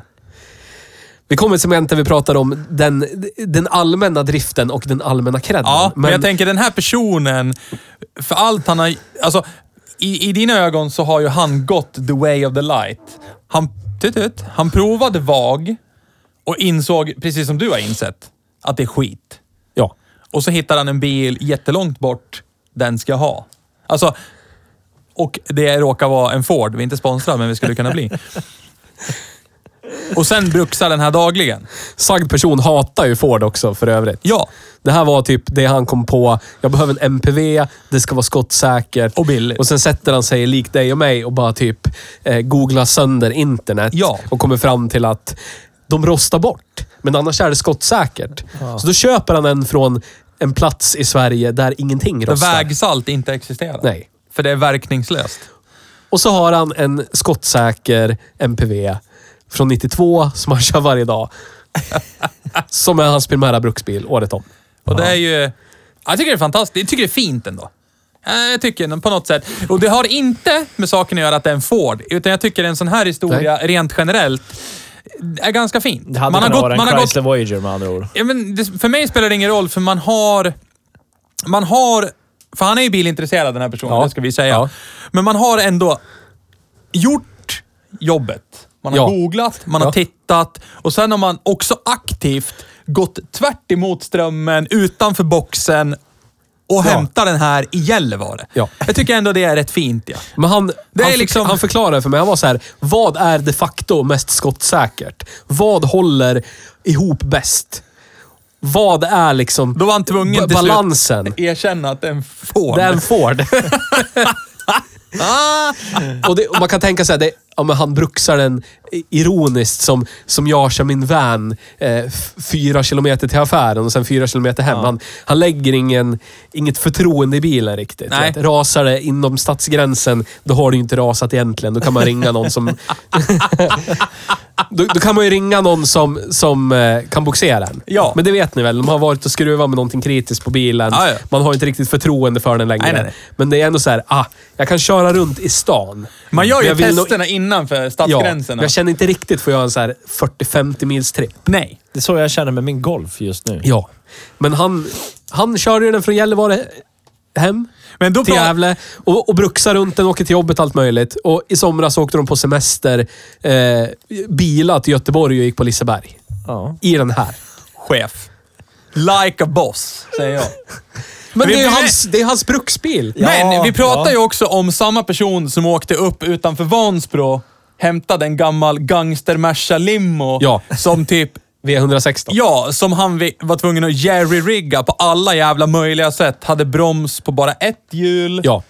S2: Vi kommer till segment där vi pratar om den, den allmänna driften och den allmänna credden.
S4: Ja, men, jag tänker den här personen, för allt han har... Alltså, i, i dina ögon så har ju han gått the way of the light. Han, tut, tut, han provade VAG och insåg, precis som du har insett, att det är skit.
S2: Ja.
S4: Och så hittar han en bil jättelångt bort den ska ha. Alltså, och det råkar vara en Ford. Vi är inte sponsrade, men vi skulle kunna bli. Och sen bruxar den här dagligen.
S2: Sagd person hatar ju Ford också för övrigt.
S4: Ja,
S2: Det här var typ det han kom på. Jag behöver en MPV, det ska vara skottsäkert.
S4: och billigt.
S2: Och sen sätter han sig lik dig och mig och bara typ eh, googlar sönder internet.
S4: Ja.
S2: Och kommer fram till att de rostar bort. Men annars är det skottsäkert. Så då köper han en från en plats i Sverige där ingenting
S4: Där
S2: rostar.
S4: vägsalt inte existerar.
S2: Nej.
S4: För det är verkningslöst.
S2: Och så har han en skottsäker MPV från 92 som han kör varje dag. som är hans primära bruksbil året om.
S4: Och det är ju... Jag tycker det är fantastiskt. Jag tycker det är fint ändå. Eh, Jag tycker på något sätt. Och det har inte med saken att göra att det är en Ford, utan jag tycker en sån här historia rent generellt är ganska fin.
S3: Det hade man kunnat vara en Chrysler Voyager med andra ord.
S4: Ja, men det, för mig spelar det ingen roll, för man har... Man har... För han är ju bilintresserad den här personen, det ska vi säga. Men man har ändå gjort jobbet. Man har
S2: Ja.
S4: googlat, man har tittat och sen har man också aktivt gått tvärt emot strömmen, utanför boxen och hämtat den här i Gällivare.
S2: Ja.
S4: Jag tycker ändå det är rätt fint. Ja.
S2: Men han,
S4: Det
S2: han,
S4: är
S2: förk-
S4: liksom-
S2: han förklarade för mig, han var så här, vad är de facto mest skottsäkert? Vad håller ihop bäst? Vad är liksom
S4: Då var han tvungen
S2: ba-
S4: till slut-
S2: balansen?
S4: Erkänna att det är en Ford.
S2: Det är en Ford.
S4: Ah!
S2: och, det, och man kan tänka sig att ja, men han bruxar den i- ironiskt som, som jag kör min van eh, f- fyra kilometer till affären och sen fyra kilometer hem. Han, han lägger ingen, inget förtroende i bilen riktigt.
S4: Nej.
S2: Vet? Rasar det inom stadsgränsen, då har du ju inte rasat egentligen. Då kan man ringa någon som... då, då kan man ju ringa någon som, som eh, kan boxera den.
S4: Ja.
S2: Men det vet ni väl, de har varit och skruvat med någonting kritiskt på bilen.
S4: Ja, ja.
S2: Man har inte riktigt förtroende för den längre.
S4: Nej, nej, nej.
S2: Men det är ändå så här, ah, jag kan köra runt i stan.
S4: Man gör
S2: Men
S4: ju
S2: jag vill nog-
S4: testerna innanför
S2: Ja,
S4: stadsgränserna.
S2: men jag känner inte riktigt för att göra en så här 40-50 mils tripp.
S4: Nej.
S3: Det är så jag känner med min Golf just nu.
S2: Ja. Men han, han körde ju den från Gällivare hem
S4: Men då
S2: till
S4: pra-
S2: Gävle och, och bruxar runt den, åker till jobbet, allt möjligt. Och i somras åkte de på semester, eh, bilar till Göteborg och gick på Liseberg.
S3: Ja.
S2: I den här.
S4: chef. Like a boss, säger jag.
S2: Men
S4: Vi-
S2: det är, ju
S4: vi-
S2: hans, det är hans bruksbil.
S4: Men vi pratar
S3: ja.
S4: ju också om samma person som åkte upp utanför Vansbro, hämtade en gammal gangster Merca limo
S2: Ja.
S4: som typ
S2: V116.
S4: Ja, som han vi- var tvungen att jerry-rigga på alla jävla möjliga sätt. Hade broms på bara ett hjul.
S2: Ja.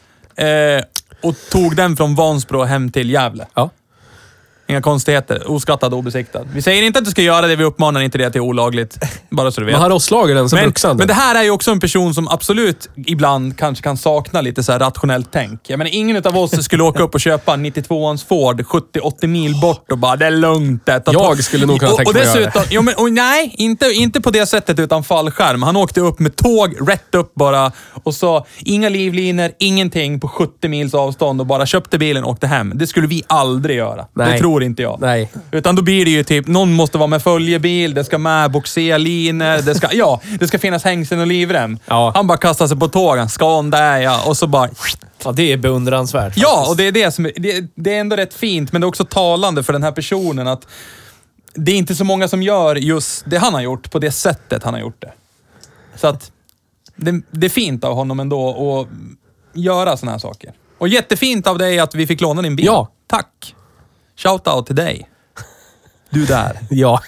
S4: Eh, och tog den från Vansbro hem till Gävle.
S2: Ja.
S4: Inga konstigheter. Oskattad och obesiktad. Vi säger inte att du ska göra det. Vi uppmanar inte det till olagligt. Bara så du vet.
S2: Men han rosslager den som
S4: Men,
S2: bruxande.
S4: men det här är ju också en person som absolut ibland kanske kan sakna lite så här rationellt tänk. Jag menar, ingen av oss skulle åka upp och köpa en 92ans Ford 70-80 mil bort och bara “det är lugnt”. Det, ta
S2: Jag
S4: på-"
S2: skulle nog kunna
S4: och,
S2: tänka
S4: och
S2: mig att göra
S4: dessutom, jo, men, och Nej, inte, inte på det sättet utan fallskärm. Han åkte upp med tåg, rätt upp bara. Och så inga livlinor, ingenting på 70 mils avstånd och bara köpte bilen och åkte hem. Det skulle vi aldrig göra. Det
S2: Nej.
S4: tror inte jag.
S2: Nej.
S4: Utan då blir det ju typ, någon måste vara med följebil, det ska med boxerlinor, det ska, ja, det ska finnas hängseln och livrem.
S2: Ja.
S4: Han bara kastar sig på tågen, scan där ja, och så bara...
S3: ja, det är beundransvärt.
S4: Ja,
S3: faktiskt.
S4: och det är det som är- det, det är ändå rätt fint, men det är också talande för den här personen att det är inte så många som gör just det han har gjort på det sättet han har gjort det. Så att det, det är fint av honom ändå att göra sådana här saker. Och jättefint av dig att vi fick låna din bil.
S2: Ja.
S4: Tack! Shout-out till dig. Du där.
S2: Ja.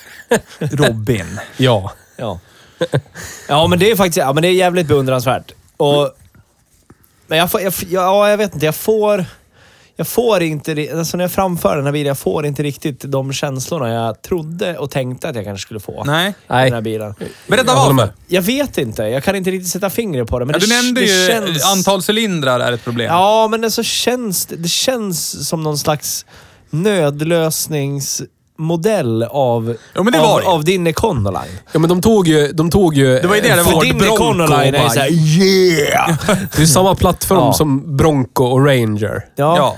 S4: Robin.
S2: Ja.
S3: Ja. ja, men det är faktiskt ja, men det är jävligt beundransvärt. Och, men jag får, jag, f- ja, jag vet inte, jag får... jag får inte, ri- alltså när jag framför den här bilen, jag får inte riktigt de känslorna jag trodde och tänkte att jag kanske skulle få.
S4: Nej.
S3: med
S2: Nej.
S3: Den här bilen.
S4: Berätta
S2: Jag håller med.
S4: varför.
S3: Jag vet inte. Jag kan inte riktigt sätta fingret på det. Men
S4: Ja,
S3: det,
S4: du nämnde
S3: det
S4: ju
S3: känns...
S4: antal cylindrar är ett problem.
S3: Ja, men alltså känns, det- det känns som någon slags nödlösningsmodell av,
S4: Jo, men det
S3: av,
S4: var det.
S3: av din Econoline.
S2: Ja, men de tog ju... De tog ju
S4: Det var ju det,
S2: en
S4: det var
S3: För
S2: Ford
S3: din
S2: Bronco
S3: Econoline är
S2: bara-
S3: ju såhär yeah!
S2: Det är samma plattform
S3: Ja.
S2: som Bronco och Ranger.
S3: Ja.
S4: Ja.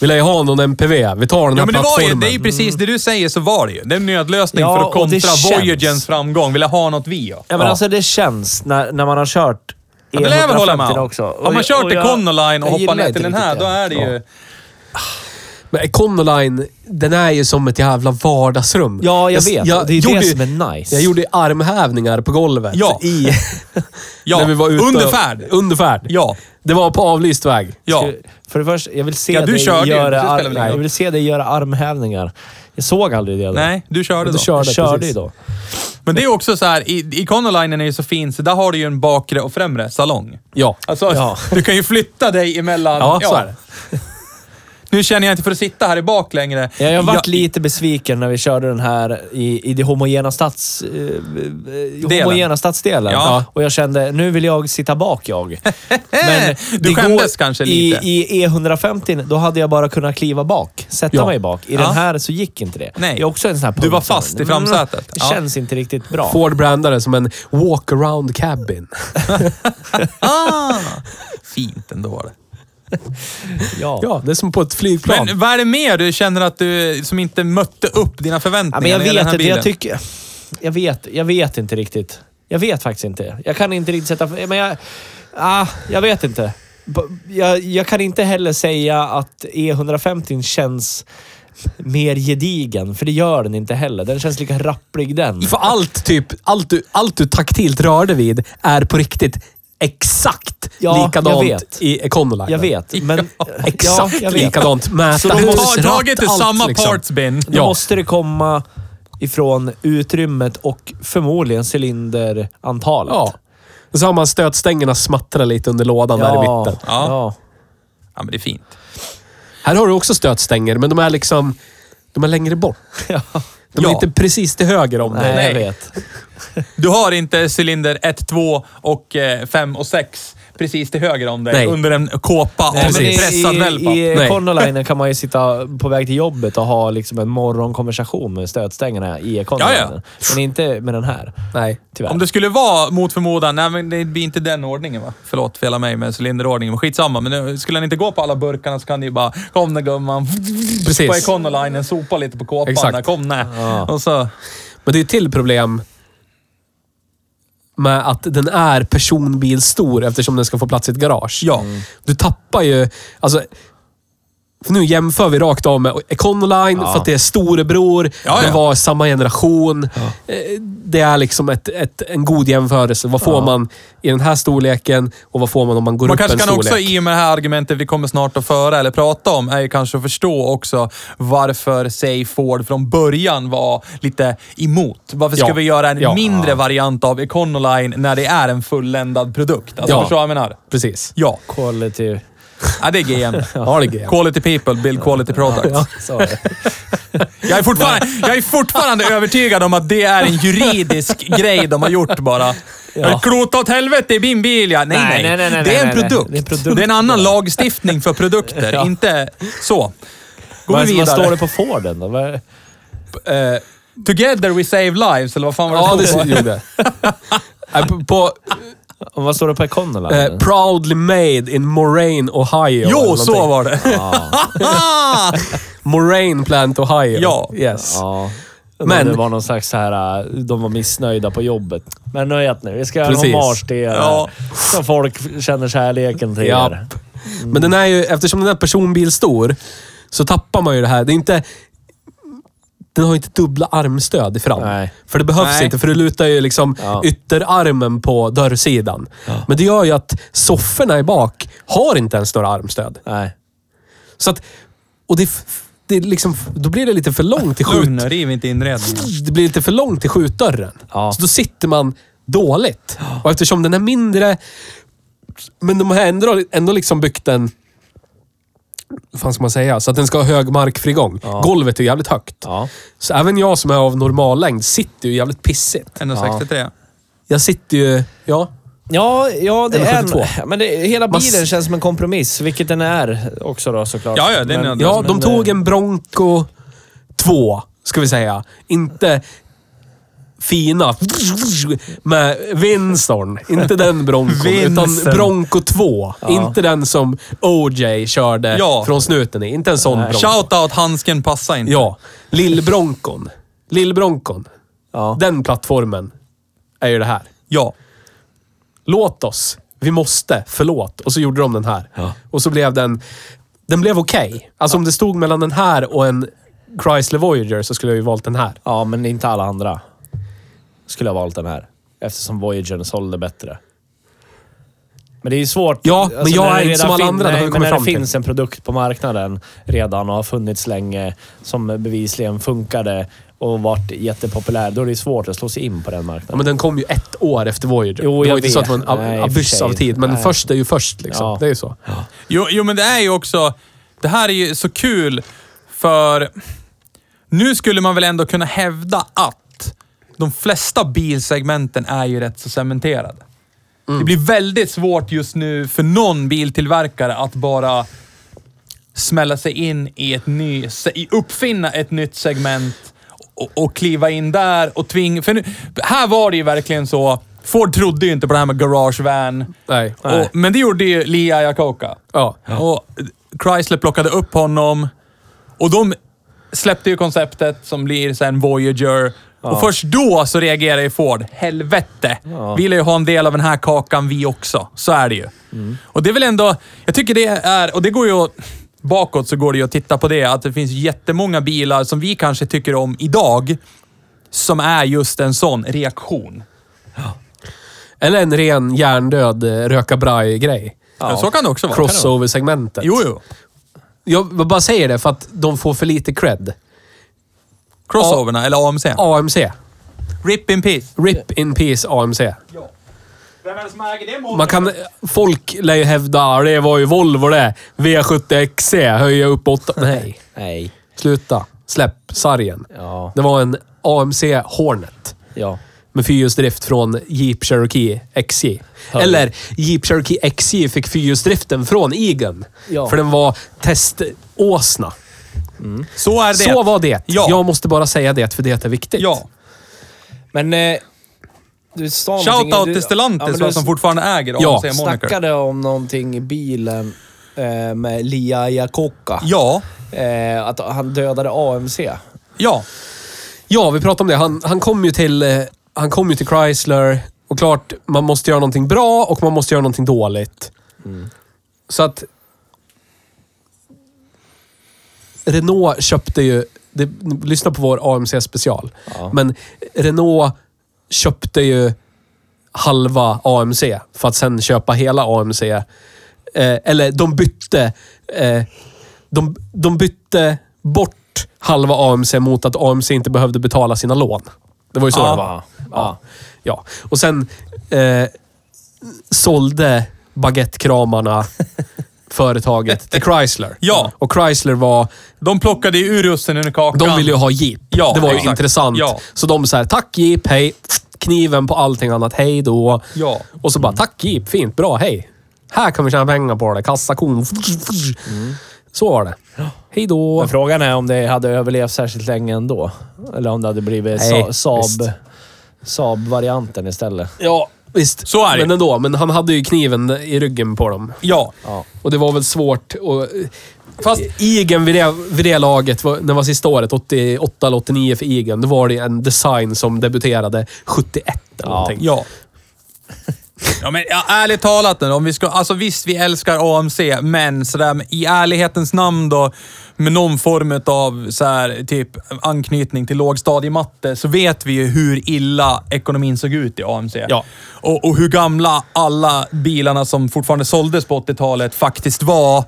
S2: Vi lär ju ha någon MPV. Vi tar den
S4: Ja, men det, var
S2: här
S4: ju,
S2: plattformen.
S4: det är ju precis det du säger, så var det ju. Det är en nödlösning
S3: Mm. Ja,
S4: för att
S3: och det
S4: kontra
S3: känns.
S4: Voyagens framgång. Vill jag ha något vi? Ja.
S3: ja, men alltså det känns när, när man har kört E
S4: Ja, det lär jag väl hålla med om.
S3: också. Och
S4: Har man
S3: jag-
S4: kört
S3: och jag-
S4: Econoline och
S3: jag
S4: hoppar
S3: gillar
S4: ner
S3: inte
S4: till den
S3: riktigt
S4: här, då är det ju...
S2: Men Econoline, den är ju som ett jävla vardagsrum.
S3: Ja, jag
S2: s-
S3: vet. Det är det
S2: ju-
S3: som är nice.
S2: Jag gjorde armhävningar på golvet.
S4: Ja.
S2: I,
S4: Ja,
S2: när vi var ute
S4: under färd.
S2: Under färd.
S4: Ja,
S2: Det var på avlyst väg.
S4: ja.
S3: För det första, jag vill se
S4: Ja, du
S3: dig
S4: körde ju. Det
S3: göra,
S4: spelar väl
S3: ar-
S4: ingen
S3: nej, jag
S4: roll.
S3: vill se dig göra armhävningar. Jag såg aldrig det. då.
S4: Nej, du körde
S2: Du
S4: då.
S2: körde.
S3: jag körde ju
S2: precis.
S3: då.
S4: Men det är också så här, i- Econolinen är ju så fin, så där har du ju en bakre och främre salong.
S2: Ja.
S4: Alltså,
S3: Ja.
S4: du kan ju flytta dig emellan.
S2: Ja, så är det.
S4: Nu känner jag inte för att sitta här i bak längre.
S3: Ja, jag varit
S4: Ja,
S3: lite besviken när vi körde den här i, i det homogena, stads, eh, eh, homogena stadsdelen.
S4: Ja.
S3: Och jag kände, nu vill jag sitta bak jag. Men
S4: Du
S3: det
S4: skämdes kanske lite.
S3: I, I E150, då hade jag bara kunnat kliva bak. Sätta
S2: Ja.
S3: mig bak. I
S4: Ja.
S3: den här så gick inte det.
S4: Nej.
S3: Det är också en sån här
S4: Du var
S3: punkt som-
S4: fast i framsätet.
S3: Det
S4: Ja.
S3: känns inte riktigt bra.
S2: Ford brandade som en walk-around cabin.
S4: Ah, fint ändå. Det.
S3: Ja.
S2: Ja, det är som på ett flygplan.
S4: Men vad är det mer du känner att du, som inte mötte upp dina
S3: Ja,
S4: förväntningar
S3: men jag
S4: när det gäller
S3: vet
S4: den här
S3: inte. Jag
S4: bilen?
S3: tycker... Jag vet, jag vet inte riktigt. Jag vet faktiskt inte. Jag kan inte riktigt sätta... Men jag... Ah, jag vet inte. B- Jag, jag kan inte heller säga att E150 känns mer gedigen, för det gör den inte heller. Den känns lika rapplig den.
S2: För allt, typ, allt, du, allt du taktilt rörde vid är på riktigt exakt
S3: Ja,
S2: likadant
S3: jag vet.
S2: i Econoline.
S3: Jag vet, men...
S4: Ja,
S3: ja,
S2: Exakt
S3: jag vet.
S2: likadant.
S3: Så
S2: Mäta
S3: de
S2: hus,
S3: har
S2: ratt,
S4: Taget ur
S2: allt,
S4: samma
S2: liksom.
S4: parts bin.
S3: Då
S2: Ja.
S3: måste det komma ifrån utrymmet och förmodligen cylinderantalet.
S2: Ja. Samma stötstängerna smattrar lite under lådan där i mitten.
S4: Ja.
S3: ja.
S4: Ja, men det är fint.
S2: Här har du också stötstänger, men de är liksom... De är längre bort. De är
S4: Ja.
S2: inte precis till höger om
S3: Nej,
S2: dig.
S3: jag
S4: Nej.
S3: vet.
S4: Du har inte cylinder 1, 2 och 5 och 6 precis till höger om dig
S2: Nej.
S4: under en kåpa av
S2: Precis.
S4: en pressad
S3: I,
S4: wellpapp.
S3: i,
S2: Nej.
S3: i Conolinen kan man ju sitta på väg till jobbet och ha liksom en morgonkonversation med stötstängerna i Conolinen.
S4: Ja, ja.
S3: Men inte med den här,
S2: Nej.
S3: tyvärr.
S4: Om det skulle vara mot förmodan, nej men det blir inte den ordningen va? Förlåt, fel av mig med cylinderordningen, men skitsamma. Men eh, skulle han inte gå på alla burkarna så kan ni ju bara, kom nu gumman,
S2: Precis.
S4: på Econolinen, sopa lite på kåpan
S2: Exakt.
S4: där, kom nä.
S3: Ja.
S4: Och så,
S2: Men det är ett till problem med att den är personbilstor eftersom den ska få plats i ett garage.
S4: ja. Mm.
S2: Du tappar ju... Alltså, för nu jämför vi rakt av med Econoline för att det är storebror,
S4: Ja,
S2: det
S4: ja.
S2: var samma generation. Eh, Det är liksom ett, ett, en god jämförelse. Vad får man i den här storleken och vad får man om man går
S4: Man
S2: upp en
S4: kanske
S2: storlek?
S4: kan också, i och med det här argumentet vi kommer snart att föra eller prata om, är ju kanske att förstå också varför, säg Ford från början var lite emot. Varför ska
S2: Ja.
S4: vi göra en
S2: Ja.
S4: mindre variant av Econoline när det är en fulländad produkt? Alltså,
S2: Ja.
S4: förstår du vad jag menar?
S2: Precis.
S4: Ja,
S3: Quality...
S4: ja det är GM.
S2: Ja, det är grejen.
S4: Quality people build quality products.
S3: Sorry.
S4: Jag är, fortfarande, jag är fortfarande övertygad om att det är en juridisk grej de har gjort bara. Ja. Klota åt helvete i min bil, ja. Nej, nej.
S3: Nej, nej, nej, nej,
S4: det, är en
S3: nej, nej.
S4: produkt.
S3: Det är en produkt.
S4: en annan lagstiftning för produkter, inte så. Går vi
S3: Vad, vad står
S4: vidare.
S3: det på Forden då? Vad-
S4: Together we save lives, eller vad fan var det
S2: Ja,
S4: stod?
S2: det gjorde jag. Eh, På, på
S3: Och vad står det på Econoline?
S2: eh, Proudly made in Moraine, Ohio.
S4: Jo,
S2: eller
S4: så
S2: någonting.
S4: var det.
S2: Moraine Plant, Ohio.
S4: Ja.
S2: Yes.
S3: Ja.
S2: Men-
S3: Men det var någon slags så här, äh, de var missnöjda på jobbet. Men nu vet ni, vi ska göra en
S2: Precis.
S3: hommage till er.
S4: Ja.
S3: Så folk känner kärleken till
S2: Japp.
S3: er.
S2: Men den är ju, eftersom den är personbilstor, så tappar man ju det här. Det är inte... Den har ju inte dubbla armstöd i fram.
S3: Nej.
S2: För det behövs
S4: Nej.
S2: inte, för du lutar ju liksom
S3: Ja.
S2: ytterarmen på dörrsidan. Men det gör ju att sofforna i bak har inte ens några armstöd.
S3: Nej.
S2: Så att... Och det, f- det är liksom, då blir det lite för långt i skjut...
S4: Lugn, riv inte inredningen.
S2: det blir lite för långt till skjutdörren.
S3: Ja.
S2: Så då sitter man dåligt. Och eftersom den är mindre, men de har ändå, ändå liksom byggt en vad fan ska man säga? Så att den ska ha hög markfrigång. Golvet är jävligt högt.
S3: Ja.
S2: Så även jag som är av normallängd sitter ju jävligt pissigt.
S4: 163.
S2: Jag sitter ju... Ja.
S3: Ja, ja det
S2: Eller
S3: är
S2: 72.
S3: en, men det, hela
S2: Man
S3: bilen
S2: s-
S3: känns som en kompromiss, vilket den är också då såklart.
S4: Ja, ja, det är
S3: Men-
S4: nödvändigt.
S2: Ja, de
S3: men,
S2: tog
S3: eh,
S2: en Bronco 2, ska vi säga. Inte fina med Winston. Inte den Broncon, utan
S4: Vincent.
S2: Bronco 2. Inte den som OJ körde
S4: Ja.
S2: från snuten i. Inte en sån Bronco.
S4: Shoutout, handsken passar inte.
S2: Ja, Lillbronkon. Lillbronkon.
S3: Ja.
S2: Den plattformen är ju det här.
S4: Ja.
S2: Låt oss. Vi måste. Förlåt. Och så gjorde de den här. Och så blev den... Den blev okej. Alltså om det stod mellan den här och en Chrysler Voyager så skulle jag ju valt den här.
S3: Ja, men inte alla andra. Skulle ha valt den här. Eftersom Voyagern sålde bättre. Men det är ju svårt. Alltså,
S2: Ja, men jag
S3: när
S2: är
S3: det
S2: inte
S3: redan
S2: som alla
S3: fin-
S2: andra, det har vi
S3: Nej, men
S2: kommit
S3: när det
S2: fram till.
S3: finns en produkt på marknaden redan och har funnits länge, som bevisligen funkade och varit jättepopulär, då är det svårt att slå sig in på den
S2: Ja,
S3: marknaden.
S2: men den kom ju ett år efter Voyager.
S3: Jo,
S2: det var
S3: jag
S2: ju inte så att det var
S3: vet.
S2: en
S3: Nej, i
S2: ab-
S3: och för
S2: abyss
S3: sig.
S2: av tid, men
S3: Nej.
S2: först är ju först liksom.
S3: Ja.
S2: Det är ju så.
S4: Jo, jo, men det är ju också... Det här är ju så kul för... Nu skulle man väl ändå kunna hävda att de flesta bilsegmenten är ju rätt så cementerade. Det blir väldigt svårt just nu för någon biltillverkare att bara smälla sig in i ett ny, se- i- uppfinna ett nytt segment och, och kliva in där och tvinga. För nu, här var det ju verkligen så. Ford trodde ju inte på det här med garage van.
S2: Nej.
S4: Och, men det gjorde ju Lee Iacocca.
S2: Ja.
S4: Och Chrysler plockade upp honom och de släppte ju konceptet som blir sen Voyager. Och först då så reagerar ju Ford. Helvete! Vi vill ju ha en del av den här kakan vi också. Så är det ju.
S2: Mm.
S4: Och det är väl ändå... Jag tycker det är... Och det går ju att... Bakåt så går det ju att titta på det. Att det finns jättemånga bilar som vi kanske tycker om idag. Som är just en sån reaktion.
S2: Eller en ren hjärndöd eh, röka braj-grej.
S4: Ja. Så kan det också vara.
S2: Crossover-segmentet.
S4: Jo, jo.
S2: Jag bara säger det för att de får för lite cred.
S4: Crossoverna, eller AMC.
S2: AMC.
S4: RIP in peace.
S2: RIP in peace AMC.
S1: Vem är det som äger det
S2: Man kan, folk lär ju hävda det var ju Volvo det. V70 XC höja upp åtta. Nej,
S3: Nej.
S2: sluta. Släpp sargen.
S3: Ja.
S2: Det var en AMC Hornet
S3: Ja.
S2: med fyrhjulsdrift från Jeep Cherokee XJ. Eller Jeep Cherokee XJ fick fyrhjulsdriften från Egan.
S3: Ja.
S2: För den var teståsna.
S4: Så är det.
S2: Så var det.
S4: Ja.
S2: Jag måste bara säga det, för det är viktigt.
S4: Ja.
S3: Men... Eh, du sa någonting-
S4: Shoutout
S3: du-
S4: till
S3: Ja,
S4: Stellantis
S3: men
S4: va,
S3: du
S4: som fortfarande äger
S2: Ja,
S4: AMC Moniker.
S3: snackade om någonting i bilen eh, med Lia Iacocca.
S4: Ja,
S3: Eh, att han dödade AMC.
S4: ja.
S2: Ja, vi pratade om det. Han, han, kom ju till, eh, han kom ju till Chrysler och klart, man måste göra någonting bra och man måste göra någonting dåligt. Så att... Renault köpte ju... Det, lyssna på vår AMC-special. Men Renault köpte ju halva AMC för att sen köpa hela AMC. Eh, eller de bytte... Eh, de, de bytte bort halva AMC mot att AMC inte behövde betala sina lån. Det var ju så
S4: Ja.
S2: det var. Ja. ja. Och sen eh, sålde baguettekramarna företaget till Chrysler.
S4: Ja.
S2: Och Chrysler var...
S4: De plockade ju ur russinen ur kakan.
S2: De ville ju ha Jeep.
S4: Ja,
S2: det var ju
S4: exakt.
S2: intressant.
S4: Ja.
S2: Så de så här, tack Jeep, hej. Kniven på allting annat, hej då.
S4: Ja. Mm.
S2: Och så bara, tack Jeep, fint, bra, hej. Här kan vi tjäna pengar på det. Kassakon.
S4: Mm.
S2: Så var det. Hej då.
S3: Men frågan är om det hade överlevt särskilt länge ändå. Eller om det hade blivit
S2: Nej,
S3: Sa- Saab,
S2: visst.
S3: Saab-varianten istället.
S2: Ja, visst.
S4: Så är det.
S2: Men ändå, men han hade ju kniven i ryggen på dem.
S4: Ja.
S2: Och det var väl svårt att... Fast Igen vid det, vid det laget, var- när det var sista året, 88 eller 89 för Igen, då var det en design som debuterade 71 eller någonting.
S4: Ja. Ja, men ja, ärligt talat nu, om vi ska, alltså visst vi älskar AMC, men sådär med- i ärlighetens namn då, med någon form av så här, typ anknytning till lågstadiematte, så vet vi ju hur illa ekonomin såg ut i AMC.
S2: Ja.
S4: Och, och hur gamla alla bilarna som fortfarande såldes på 80-talet faktiskt var.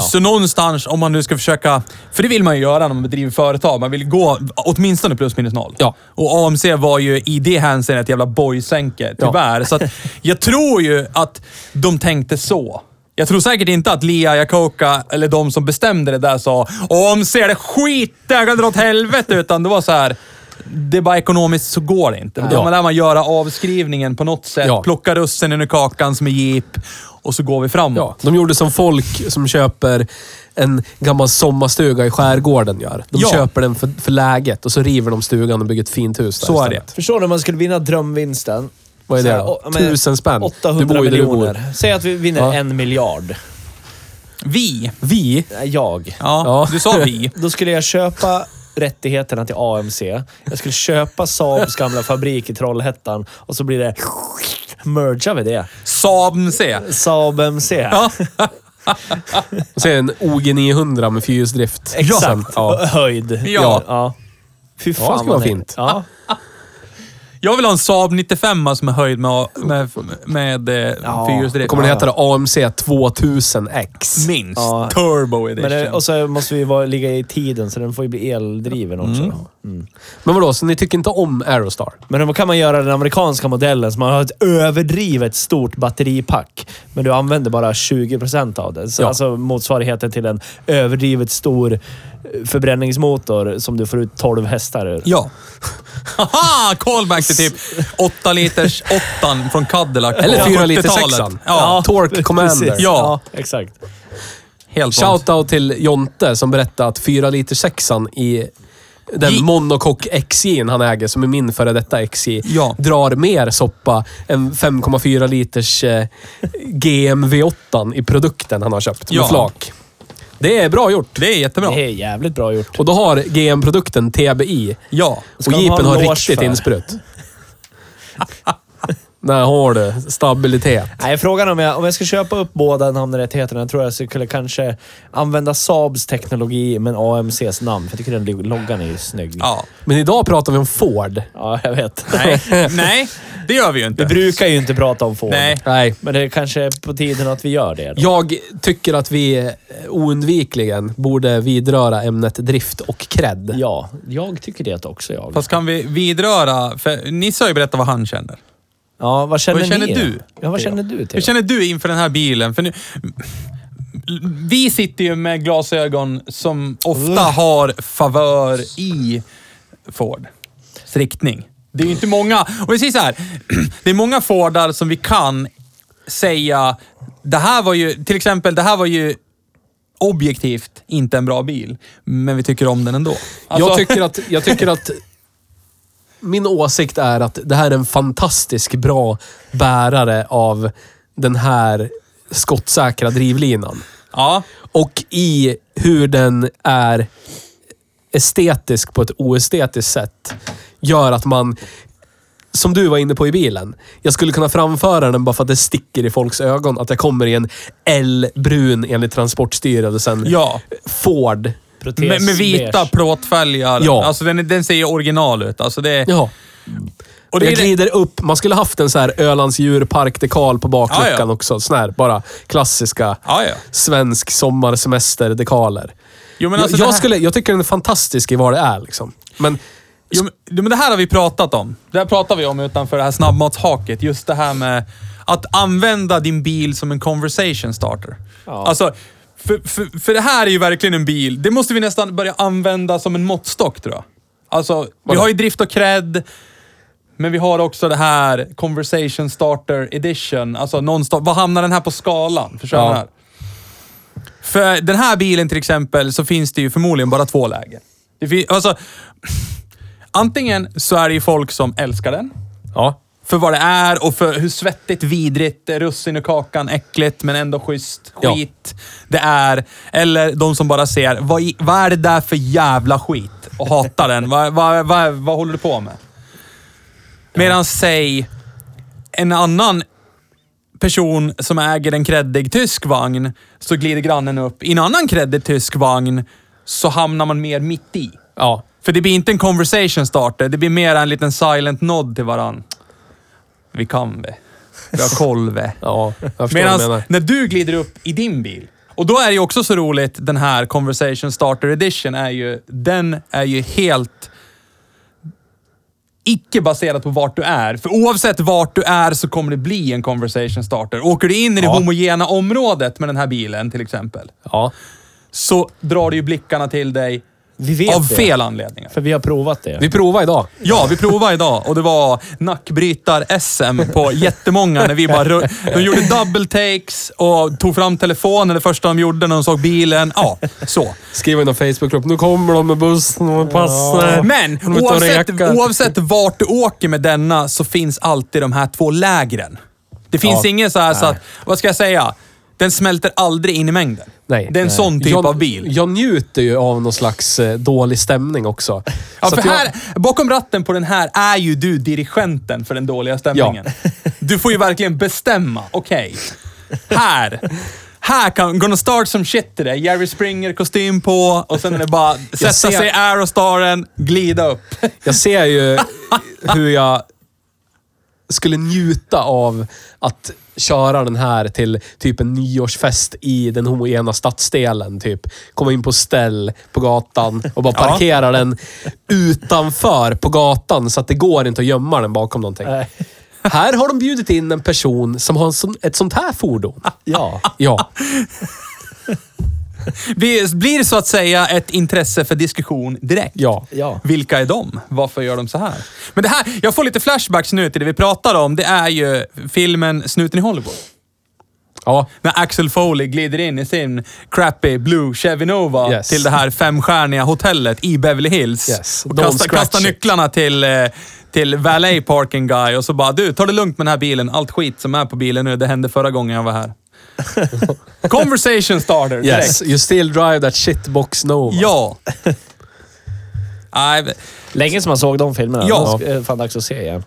S4: Så någonstans, om man nu ska försöka... För det vill man ju göra när man bedriver företag. Man vill gå åtminstone plus minus noll.
S2: Ja.
S4: Och AMC var ju i det hänseendet ett jävla bojsänke, tyvärr. Så att, jag tror ju att de tänkte så. Jag tror säkert inte att Lia Jakoka, eller de som bestämde det där, sa Om ser det skit, jag kan dra åt helvete. Utan det var så här. Det är bara ekonomiskt så går det inte. Då
S2: Ja.
S4: man lär man göra avskrivningen på något sätt.
S2: Ja.
S4: Plocka russinen ur kakan som är jeep och så går vi framåt.
S2: Ja, de gjorde som folk som köper en gammal sommarstuga i skärgården gör. De
S4: Ja.
S2: köper den för, för läget och så river de stugan och bygger ett fint hus där
S4: Så är
S2: istället.
S4: det.
S3: Förstår du om man skulle vinna drömvinsten?
S2: Vad är det
S3: Så här,
S2: då?
S3: å- ja, men
S2: Tusen spänn.
S3: 800
S2: Du bor ju där du bor.
S3: miljoner. Säg att vi vinner
S2: Ja.
S3: en miljard.
S4: Vi.
S2: Vi?
S3: Nej, Jag.
S4: Ja,
S2: Ja.
S4: du sa vi.
S3: Då skulle jag köpa rättigheterna till AMC. Jag skulle köpa Saabs gamla fabrik i Trollhättan och så blir det... Mergar vi det.
S4: Saab C.
S3: Saab MC.
S4: Ja.
S2: Och så är det en OG 900 med fyrhjulsdrift. Sen,
S3: Exakt.
S2: Ja.
S3: Höjd.
S4: Ja.
S3: Fy fan
S2: det skulle vara
S3: vad
S2: fint.
S3: Ja.
S4: Jag vill ha en Saab 95 som är höjd med, med, med, med ja. fyrhjulsdrift.
S2: Kommer den heta då AMC 2000X?
S4: Minst.
S3: Ja.
S4: Turbo
S3: Men
S4: edition.
S3: det, och så måste vi vara, ligga i tiden, så den får ju bli eldriven också.
S2: Men vadå, så ni tycker inte om Aerostar?
S3: Men då kan man göra den amerikanska modellen, så man har ett överdrivet stort batteripack. Men du använder bara 20% av det. Så
S2: Ja.
S3: Alltså motsvarigheten till en överdrivet stor eh, förbränningsmotor som du får ut 12 hästar ur.
S4: Ja. Haha! Callback till typ 8 liters 8 från Cadillac. på
S2: Eller 4 liter
S4: 70-talet.
S2: sexan?
S4: Ja,
S2: Torque Commander.
S3: Precis.
S4: Ja.
S3: Ja. exakt.
S4: helt sant.
S2: Shoutout till Jonte som berättade att 4 liter sexan i den
S4: Gi-
S2: monokock XJ'n han äger, som är min före detta XJ,
S4: Ja.
S2: drar mer soppa än 5,4 liters eh, GM V8 i produkten han har köpt
S4: Ja.
S2: med flak. Det är bra gjort.
S4: Det är jättebra.
S3: Det är jävligt bra gjort.
S2: Och då har GM-produkten TBI.
S4: Ja.
S2: Och
S3: Ska de ha
S2: jeepen
S3: en
S2: har
S3: loge
S2: riktigt
S3: för?
S2: insprutt. Där har du stabilitet.
S3: Nej, frågan är om jag, om jag ska köpa upp båda namnrättigheterna, jag tror jag skulle kanske använda Saabs teknologi, men AMCs namn. För jag tycker den log- loggan är ju snygg.
S4: ja.
S2: Men idag pratar vi om Ford.
S3: Ja, jag vet.
S4: Nej. Nej, det gör vi ju
S3: Vi
S4: inte.
S3: brukar ju inte prata om Ford.
S4: Nej.
S2: Nej.
S3: Men det är kanske är på tiden att vi gör det. Då.
S2: Jag tycker att vi eh, oundvikligen borde vidröra ämnet drift och cred.
S3: Ja, jag tycker det också jag.
S4: Fast kan vi vidröra... För Nisse har ju berättat vad han känner.
S3: ja, vad känner,
S4: Vad känner
S3: ni? då?
S4: du?
S3: Ja, vad känner du
S4: Hur
S3: till?
S4: känner du inför den här bilen? För nu, vi sitter ju med glasögon som ofta har favör i Fords riktning. Det är ju inte många. Och jag säger så här. Det är många Fordar som vi kan säga, det här var ju, till exempel, det här var ju objektivt inte en bra bil. Men vi tycker om den ändå. Alltså,
S2: Jag, tycker att, jag tycker att... Min åsikt är att det här är en fantastisk bra bärare av den här skottsäkra drivlinan.
S4: Ja.
S2: Och i hur den är estetisk på ett oestetiskt sätt gör att man, som du var inne på i bilen, jag skulle kunna framföra den bara för att det sticker i folks ögon att jag kommer i en L-brun enligt Transportstyrelsen
S4: Ja.
S2: Ford.
S3: Protes,
S4: Med, med vita
S3: beige.
S4: plåtfälgar.
S2: Ja.
S4: Alltså den, den ser ju original ut. Alltså det,
S2: Ja.
S4: och det
S2: Jag
S4: är det-
S2: glider upp. Man skulle haft en så här Ölands djurpark-dekal på bakluckan
S4: Ja, ja.
S2: också. Sån här, bara klassiska
S4: Ja, ja.
S2: svensk sommarsemester-dekaler.
S4: Jo, men alltså
S2: jag,
S4: det
S2: jag,
S4: här-
S2: skulle, jag tycker den är fantastisk i vad det är. Liksom. Men
S4: Jo, men- jo, men det här har vi pratat om. Det här pratar vi om utanför det här snabbmatshaket. Just det här med att använda din bil som en conversation starter. Alltså, för, för, för det här är ju verkligen en bil. Det måste vi nästan börja använda som en måttstock tror jag. Alltså, vi
S2: Vadå?
S4: har ju drift och cred. Men vi har också det här Conversation Starter Edition. Alltså nonstop. Vad hamnar den här på skalan? Förstår du
S2: Ja.
S4: vad jag menar? För den här bilen till exempel så finns det ju förmodligen bara två lägen. Det fin- alltså, antingen så är det ju folk som älskar den.
S2: ja.
S4: För vad det är och för hur svettigt, vidrigt, russin och kakan, äckligt men ändå schysst
S2: Ja.
S4: skit det är. Eller de som bara ser, vad, i- vad är det där för jävla skit? Och hatar den. Vad, vad, vad, vad håller du på med? Medan säg en annan person som äger en kreddig tysk vagn, så glider grannen upp i en annan kreddig tysk vagn, så hamnar man mer mitt i.
S2: Ja.
S4: För det blir inte en conversation starter, det blir mer en liten silent nod till varann. Vi kan vi. Vi har koll vi.
S2: Ja, jag förstår vad du
S4: Medan
S2: menar.
S4: när du glider upp i din bil, och då är det ju också så roligt, den här conversation starter edition är ju, den är ju helt Icke baserat på vart du är. För oavsett vart du är så kommer det bli en conversation starter. Åker du in i det homogena området med den här bilen till exempel,
S2: Ja.
S4: så drar du ju blickarna till dig
S3: Vi vet
S4: av
S3: det.
S4: fel anledningar.
S3: För vi har provat det.
S2: Vi provar idag.
S4: Ja, vi provade idag och det var nackbrytar-SM på jättemånga. När vi bara, rull- de gjorde double takes och tog fram telefonen det första de gjorde när de såg bilen. Ja, så.
S2: Skriv i någon Facebookgrupp. Nu kommer de med bussen och passar.
S4: Men
S2: eh, De är ute och
S4: oavsett,
S2: rekar.
S4: oavsett vart du åker med denna så finns alltid de här två lägren. Det finns ingen så här så att, vad ska jag säga? Den smälter aldrig in i mängden.
S2: Nej.
S4: det är en
S2: Nej.
S4: sån typ
S2: jag,
S4: av bil.
S2: Jag njuter ju av någon slags eh, dålig stämning också.
S4: Ja,
S2: Så
S4: för
S2: att jag-
S4: här, bakom ratten på den här är ju du dirigenten för den dåliga stämningen. Du får ju verkligen bestämma. Okej, här. Här kan, gonna start some shit today. Jerry Springer, kostym på och sen är det bara sätta
S2: ser-
S4: sig i Aerostaren, glida upp.
S2: Jag ser ju hur jag skulle njuta av att köra den här till typ en nyårsfest i den homogena stadsdelen. Typ. Komma in på ställ på gatan och bara parkera den utanför på gatan så att det går inte att gömma den bakom någonting.
S3: Eh,
S2: Här har de bjudit in en person som har en sån, ett sånt här fordon.
S3: Ja.
S2: Ja,
S4: Blir, blir så att säga ett intresse för diskussion direkt.
S2: ja.
S3: Ja.
S4: Vilka är de? Varför gör de så här? Men det här, jag får lite flashbacks nu till det vi pratar om. Det är ju filmen Snuten i Hollywood.
S2: ja.
S4: När Axel Foley glider in i sin crappy blue Chevy Nova
S2: Yes.
S4: till det här femstjärniga hotellet i Beverly Hills.
S2: Yes.
S4: Och
S2: Don't
S4: kastar,
S2: scratch
S4: kastar
S2: it.
S4: nycklarna till, eh, till valet parking guy och så bara du, ta det lugnt med den här bilen. Allt skit som är på bilen nu, det hände förra gången jag var här. Conversation starter direkt.
S2: Yes. You still drive that shitbox Nova.
S4: Ja. Nej,
S3: Länge som man såg de filmerna.
S4: Ja.
S3: Det är fan dags att se igen.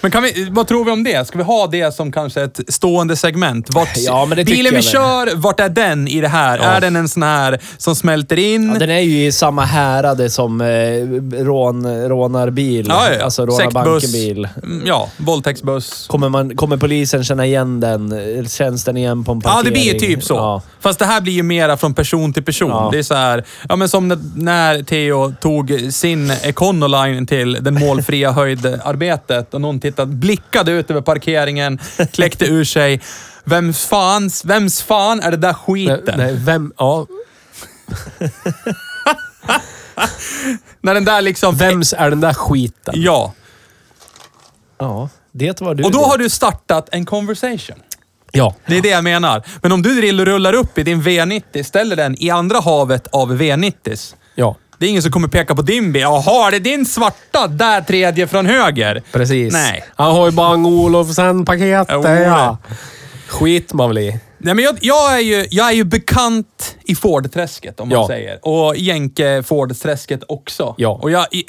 S4: men kan vi, vad tror vi om det? Ska vi ha det som kanske ett stående segment? Vart,
S3: Ja, men det tycker
S4: bilen vi
S3: jag väl.
S4: kör, vart är den i det här? Är den en sån här som smälter in?
S3: Ja, den är ju i samma härade som eh, rån, rånarbil.
S4: Ja, ja, ja.
S3: Alltså
S4: Säckbuss.
S3: rånarbankenbil.
S4: Mm, Ja, våldtäktsbuss.
S3: Kommer, man, kommer polisen känna igen den? Eh, Känns den igen på en
S4: Ja,
S3: parkering?
S4: det blir ju typ så.
S3: Ja.
S4: Fast det här blir ju mera från person till person.
S3: Ja.
S4: Det är så här, ja men som när, när Theo tog sin Econoline till den målfria höjdarbetet och någon tittade, blickade ut över parkeringen, kläckte ur sig. Vems fans, vems fan är det där
S2: Nej,
S4: skiten?
S2: nej, vem, ja.
S4: När den där liksom...
S2: Vems är den där skiten?
S4: Ja.
S3: ja, det var du.
S4: Och då
S3: det.
S4: har du startat en conversation.
S2: Ja.
S4: Det är det jag menar. Men om du drill- rullar upp i din V90, ställer den i andra havet av V90s.
S2: Ja.
S4: Det är ingen som kommer peka på din bil. Jaha, det är din svarta där tredje från höger.
S2: Precis.
S4: Nej.
S2: Han har ju Bang Olofsen-paketet.
S4: Jo, det.
S2: Ja. Skit man väl i.
S4: Nej, men jag, jag, är ju, jag är ju bekant i Ford-träsket, om man
S2: Ja.
S4: säger. Och Jänke Ford-träsket också.
S2: Ja.
S4: Och jag, i-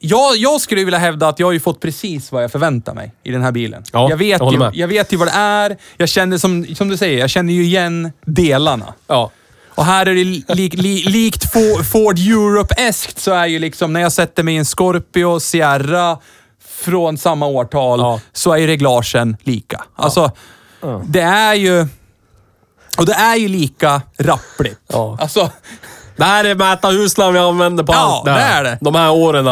S4: jag, jag skulle vilja hävda att jag har ju fått precis vad jag förväntar mig i den här bilen.
S2: Ja,
S4: jag, vet
S2: jag håller
S4: ju,
S2: med.
S4: jag vet ju vad det är. Jag känner, som, som du säger, jag känner ju igen delarna.
S2: Ja.
S4: Och här är det li, li, likt Fo- Ford Europe-eskt så är ju liksom när jag sätter mig i en Scorpio Sierra från samma årtal
S2: Ja.
S4: så är ju reglagen lika. Alltså, det är ju... Och det är ju lika rappligt.
S2: Ja.
S4: Alltså,
S2: Det här är Märta Husland vi använder på
S4: Ja,
S2: allt
S4: det är det.
S2: De här åren.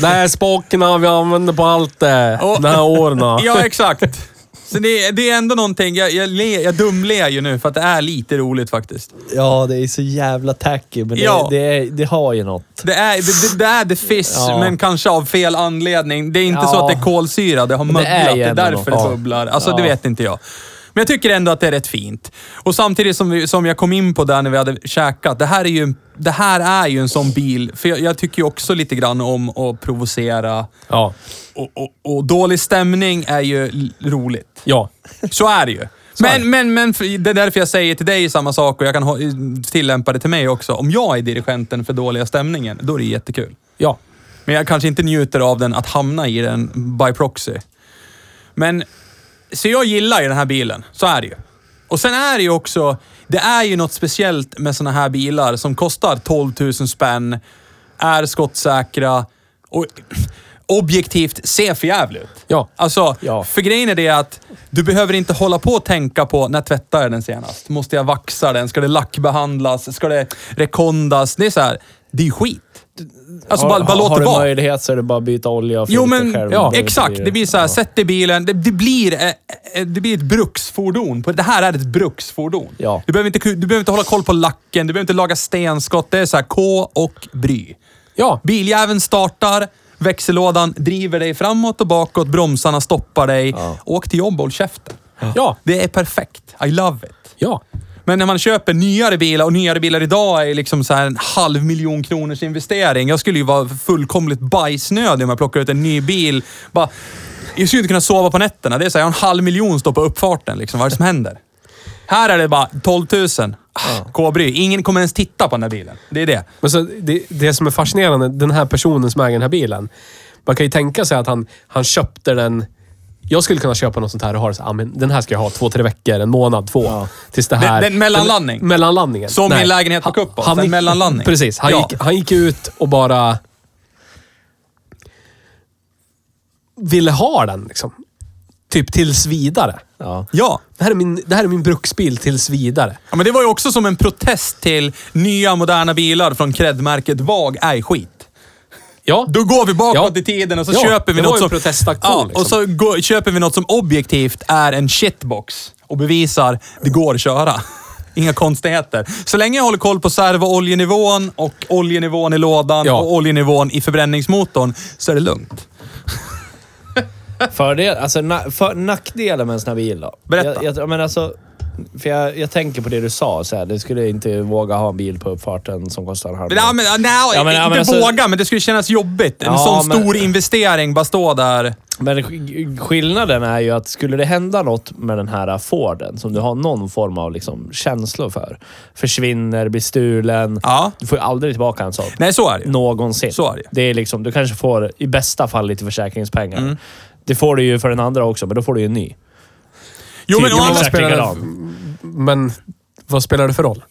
S2: det här är spakerna vi använder på allt det.
S4: Och-
S2: De här åren.
S4: ja exakt. Så det, det är ändå någonting, jag, jag, le, jag dumler ju nu för att det är lite roligt faktiskt.
S3: Ja, det är så jävla tacky, men det,
S4: Ja.
S3: det, är, det har ju något.
S4: Det är det, det, det, är the fiss,
S3: Ja.
S4: men kanske av fel anledning. Det är inte
S3: Ja.
S4: så att det är kolsyra, det har möglat. Det är,
S3: ju ändå
S4: därför
S3: något.
S4: det
S3: Ja.
S4: bubblar. Alltså, det vet inte jag. Men jag tycker ändå att det är rätt fint. Och samtidigt som, vi, som jag kom in på där när vi hade käkat. Det här är ju, det här är ju en sån bil, för jag, jag tycker ju också lite grann om att provocera.
S2: Ja.
S4: Och, och, och dålig stämning är ju l- roligt.
S2: Ja.
S4: Så är det ju. Men, men, men för- det är därför jag säger till dig samma sak och jag kan ha, tillämpa det till mig också. Om jag är dirigenten för dåliga stämningen, då är det jättekul.
S2: Ja.
S4: Men jag kanske inte njuter av den, att hamna i den by proxy. Men, så jag gillar ju den här bilen. Så är det ju. Och sen är det ju också, det är ju något speciellt med såna här bilar som kostar 12 000 spänn, är skottsäkra och objektivt ser för jävligt ut.
S2: Ja.
S4: Alltså,
S3: Ja.
S4: för grejen är det att du behöver inte hålla på och tänka på när tvättar jag den senast? Måste jag vaxa den? Ska det lackbehandlas? Ska det rekondas? Det är så här, det är ju skit. Alltså
S3: har,
S4: bara, bara låt
S3: har
S4: det
S3: du
S4: vara.
S3: möjlighet så är det bara att byta olja och
S4: Jo,
S3: filter
S4: men
S3: själv.
S4: ja,
S3: Det
S4: exakt. Det blir så här, sätt i bilen. Det, det, blir, eh, eh, det blir ett bruksfordon. På- Det här är ett bruksfordon.
S3: Ja.
S4: Du, behöver inte, ku- du behöver inte hålla koll på lacken, du behöver inte laga stenskott. Det är så här, K och bry.
S2: Ja,
S4: Biljäveln startar, växellådan driver dig framåt och bakåt, bromsarna stoppar dig. Åk till jobb och håll käften.
S2: ja,
S4: Det är perfekt. I love it.
S2: ja.
S4: Men när man köper nyare bilar, och nyare bilar idag är liksom så här en halv miljon kronors investering. Jag skulle ju vara fullkomligt bajsnödig om jag plockar ut en ny bil. Bara, jag skulle inte kunna sova på nätterna. Det är så här, jag har en halv miljon står på uppfarten. Liksom. Vad är det som händer? Här är det bara 12 000. Ah, K-bry. Ingen kommer ens titta på den här bilen. Det är det.
S2: Men så det, det som är fascinerande, den här personen som äger den här bilen. Man kan ju tänka sig att han, han köpte den... Jag skulle kunna köpa något sånt här och ha det så här, "Ah, men den här ska jag ha två, tre veckor, en månad, två. Tills det här...
S4: Den- den mellanlandning.
S2: mellanlandningen.
S4: Som
S2: Nej.
S4: min lägenhet på
S2: Han-
S4: Kuppås,
S2: han
S4: en
S2: gick-
S4: mellanlandning.
S2: Precis. Han,
S4: Ja.
S2: gick, han gick ut och bara... Ville ha den liksom. Typ tills vidare.
S3: Ja.
S4: Ja.
S2: Det här är min, det här är min bruksbil tills vidare.
S4: Ja, men det var ju också som en protest till nya moderna bilar från kredmärket VAG är skit.
S2: Ja.
S4: Då går vi bakåt
S2: Ja.
S4: i tiden och så
S2: Ja,
S4: köper vi
S2: det var
S4: något
S2: ju
S4: som...
S2: en protestaktion,
S4: ja,
S2: liksom.
S4: och så går, köper vi något som objektivt är en shitbox och bevisar det går att köra. Inga konstigheter. Så länge jag håller koll på servooljenivån och oljenivån i lådan
S2: Ja.
S4: och oljenivån i förbränningsmotorn så är det lugnt.
S3: Fördel, alltså, na, för, nackdelen med en sån här bil då?
S4: Berätta.
S3: Jag, jag, men alltså, för jag, jag tänker på det du sa, så här, du skulle inte våga ha en bil på uppfarten som kostar en halv
S4: Men, ja, men, ja, nej,
S3: Ja, men, ja,
S4: inte
S3: men alltså-
S4: våga, men det skulle kännas jobbigt. En
S3: Ja,
S4: sån
S3: men-
S4: stor investering, bara stå där.
S3: Men sk- skillnaden är ju att skulle det hända något med den här Forden som du har någon form av liksom känslor för. Försvinner, blir stulen.
S4: Ja.
S3: Du får ju aldrig tillbaka en sån.
S4: Nej, så är det ju.
S3: Någonsin.
S4: Så är det.
S3: är liksom, du kanske får i bästa fall lite försäkringspengar.
S4: Mm.
S3: Det får du ju för den andra också, men då får du ju en ny.
S4: Jo, men å
S3: Tydligen
S4: andra
S3: exakt
S2: spelar det-
S3: likadan.
S2: Men vad spelar det för roll?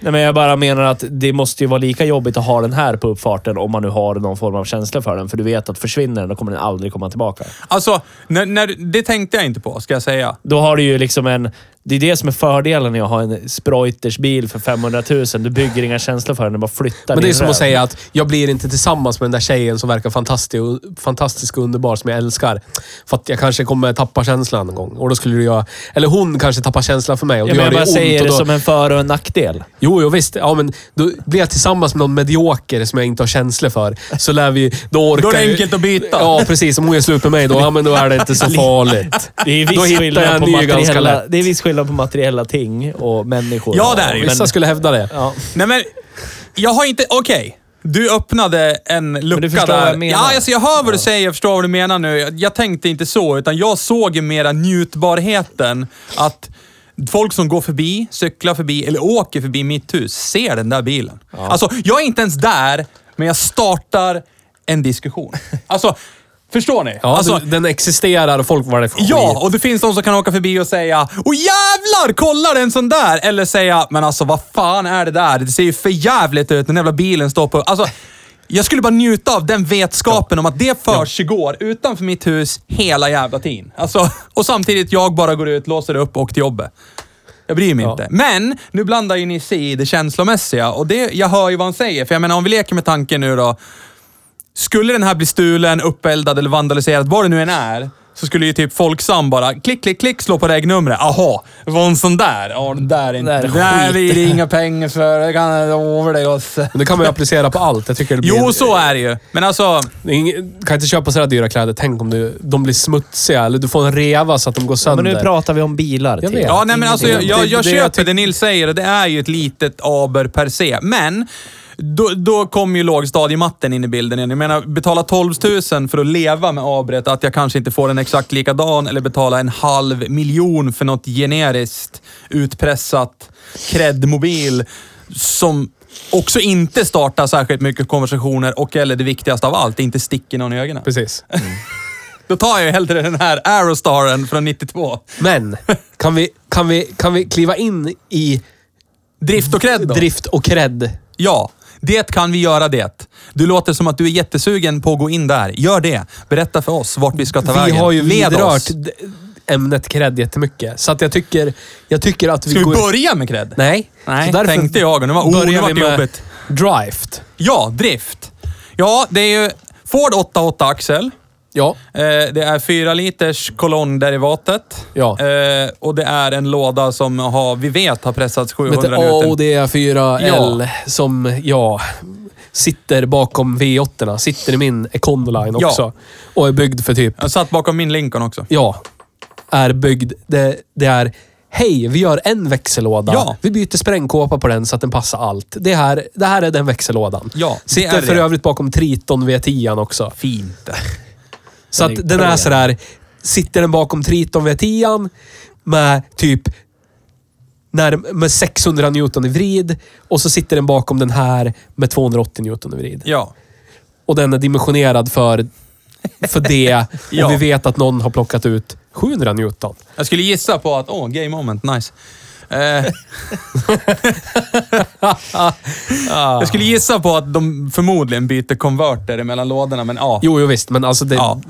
S3: Nej, men jag bara menar att det måste ju vara lika jobbigt att ha den här på uppfarten om man nu har någon form av känsla för den. För du vet att försvinner den, då kommer den aldrig komma tillbaka.
S4: Alltså, när, när, det tänkte jag inte på, ska jag säga.
S3: Då har du ju liksom en... Det är det som är fördelen när jag har en Spreuters bil för 500 000. Du bygger inga känslor för den, du bara flyttar
S2: Men det är
S3: din
S2: som
S3: räv.
S2: att säga att jag blir inte tillsammans med den där tjejen som verkar fantastisk och, fantastisk och underbar som jag älskar. För att jag kanske kommer tappa känslan någon gång. Och då skulle jag... Eller hon kanske tappar känslan för mig och
S3: Ja,
S2: då
S3: men jag
S2: gör det
S3: bara
S2: ont.
S3: säger
S2: och
S3: det
S2: då,
S3: som en för och en nackdel.
S2: Jo, jo visst. Ja, men då blir jag tillsammans med någon medioker som jag inte har känslor för. Så lär vi... Då orkar
S4: Då är det
S2: jag-
S4: enkelt att byta.
S2: Ja, precis. Om hon gör slut med mig då, ja, men då är det inte så farligt.
S3: Det är
S2: Då hittar jag en ny ganska
S3: materiella,
S2: lätt.
S3: det är viss skillnad på materiella ting och människor.
S4: Ja, det är det ju.
S2: Vissa skulle hävda det.
S3: Ja.
S4: Nej men, jag har inte... Okej. Du öppnade en lucka
S3: förstår
S4: där.
S3: vad jag menar.
S4: Ja, alltså jag hör vad du säger, jag förstår vad du menar nu. Jag, jag tänkte inte så, utan jag såg ju mera njutbarheten. Att folk som går förbi, cyklar förbi eller åker förbi mitt hus ser den där bilen. Alltså, jag är inte ens där, men jag startar en diskussion. Alltså, förstår ni?
S2: Ja,
S4: alltså,
S2: den, den existerar och folk var det för
S4: Ja, och det finns de som kan åka förbi och säga Åh jävlar, kolla det är en sån där! Eller säga, men alltså vad fan är det där? Det ser ju för jävligt ut, den jävla bilen står på... Alltså, jag skulle bara njuta av den vetskapen om att det försiggår utanför mitt hus hela jävla tiden. Alltså, och samtidigt jag bara går ut, låser upp och till jobbet. Jag bryr mig inte. Men nu blandar ju ni sig i det känslomässiga och det, jag hör ju vad han säger. För jag menar om vi leker med tanken nu då. Skulle den här bli stulen, uppeldad eller vandaliserad, vad det nu än är, så skulle ju typ Folksam bara klick, klick, klick slå på regnumret. Aha, det var en sån där. Ja, den där är inte...
S3: Där är
S4: där
S3: skit.
S4: blir det inga pengar för. Det kan jag lova dig. gosse.
S2: Men det kan man ju applicera på allt. Jag tycker det blir
S4: Jo, så är det ju. Men alltså...
S2: Det är ing- kan inte köpa sådär dyra kläder. Tänk om du, de blir smutsiga eller du får en reva så att de går sönder.
S3: Men nu pratar vi om bilar.
S2: Jag
S3: Theo.
S2: vet.
S4: Ja, nej, men alltså, jag,
S2: ingenting.
S4: jag, jag
S2: Det- det
S4: köper
S2: jag
S4: det, Nils säger och det är ju ett litet aber per se. Men då, då kom ju lågstadiematten in i bilden igen. Jag menar, betala 12 000 för att leva med abret, att jag kanske inte får en exakt likadan eller betala en halv miljon för något generiskt utpressat kredmobil som också inte startar särskilt mycket konversationer och eller det viktigaste av allt, inte sticker någon i ögonen.
S2: Precis.
S4: Då tar jag ju hellre den här Aerostaren från 92.
S2: Men, kan vi, kan, vi, kan vi kliva in i
S4: Drift och cred då?
S2: drift och cred?
S4: Ja, det kan vi göra det. Du låter som att du är jättesugen på att gå in där. Gör det. Berätta för oss vart vi ska ta
S2: Vi
S4: vägen.
S2: har ju
S4: Led
S2: vidrört
S4: oss.
S2: d- ämnet cred jättemycket. Så att jag tycker, jag tycker att vi
S4: Ska vi
S2: går...
S4: börja med cred?
S2: Nej.
S4: Nej,
S2: Så därför
S4: tänkte jag. Nu var, oh, nu
S2: börjar
S4: var
S2: vi
S4: det
S2: med
S4: jobbigt.
S2: Drift.
S4: Ja, drift. Ja, det är ju Ford 88 axel.
S2: Ja.
S4: Eh, Det är 4 liters kolonnderivatet.
S2: Ja.
S4: Eh, Och det är en låda som har, vi vet har pressats
S2: Med
S4: 700 Newton.
S2: AOD4L som, ja, sitter bakom v 8 Sitter i min Econoline
S4: Ja.
S2: också. Och är byggd för typ,
S4: Jag satt bakom min Lincoln också.
S2: ja, är byggd. Det, det är, hej, vi gör en växellåda.
S4: Ja.
S2: Vi byter sprängkåpa på den så att den passar allt. Det här, det här är den växellådan.
S4: Ja, det
S2: sitter
S4: är
S2: för
S4: det.
S2: övrigt bakom Triton V10 också.
S4: Fint.
S2: Så att den är sådär, sitter den bakom Triton V10 med typ när, med 600 Newton i vrid och så sitter den bakom den här med 280 Newton i vrid.
S4: Ja.
S2: Och den är dimensionerad för, för det
S4: Ja.
S2: och vi vet att någon har plockat ut 700 Newton.
S4: Jag skulle gissa på att, åh, oh, game moment, nice. Eh, jag skulle gissa på att de förmodligen byter konverter mellan lådorna, men ja.
S2: Jo, jo visst, men alltså det...
S4: Ja.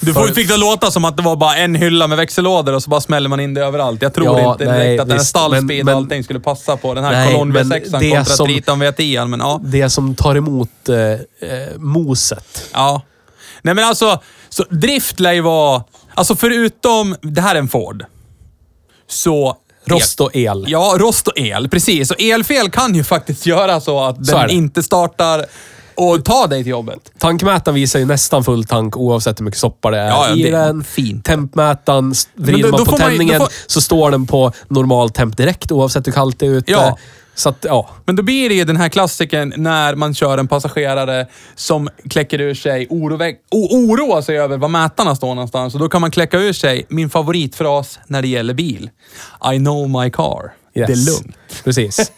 S4: Du får- fick det låta som att det var bara en hylla med växellådor och så bara smäller man in det överallt. Jag tror
S2: Ja,
S4: inte direkt
S2: nej,
S4: att den här
S2: visst, men-
S4: stallspeed
S2: men-
S4: och allting skulle passa på den här
S2: Nej,
S4: kolonn
S2: men
S4: V6
S2: det
S4: kontra
S2: som-
S4: Triton V10, men ja.
S2: Det som tar emot eh, eh, moset.
S4: Ja. Nej men alltså, så drift lär ju vara... Alltså förutom, det här är en Ford. Så...
S2: Rost och el.
S4: Ja, rost och el. Precis. Och elfel kan ju faktiskt göra så att den
S2: Så är det.
S4: inte startar och tar dig till jobbet.
S2: Tankmätaren visar ju nästan full tank oavsett hur mycket soppa det är
S4: Ja, ja,
S2: i
S4: det är
S2: den.
S4: fint.
S2: Tempmätaren, s- vrider
S4: då-
S2: man
S4: då
S2: på
S4: får man ju- då
S2: tändningen
S4: får-
S2: så står den på normal temp direkt oavsett hur kallt det är ute.
S4: Ja.
S2: Så att, ja.
S4: Men då blir det ju den här klassiken när man kör en passagerare som kläcker ur sig, oroväck, o- oroar sig över var mätarna står någonstans. Och då kan man kläcka ur sig min favoritfras när det gäller bil. I know my car. Det är lugnt.
S2: Precis.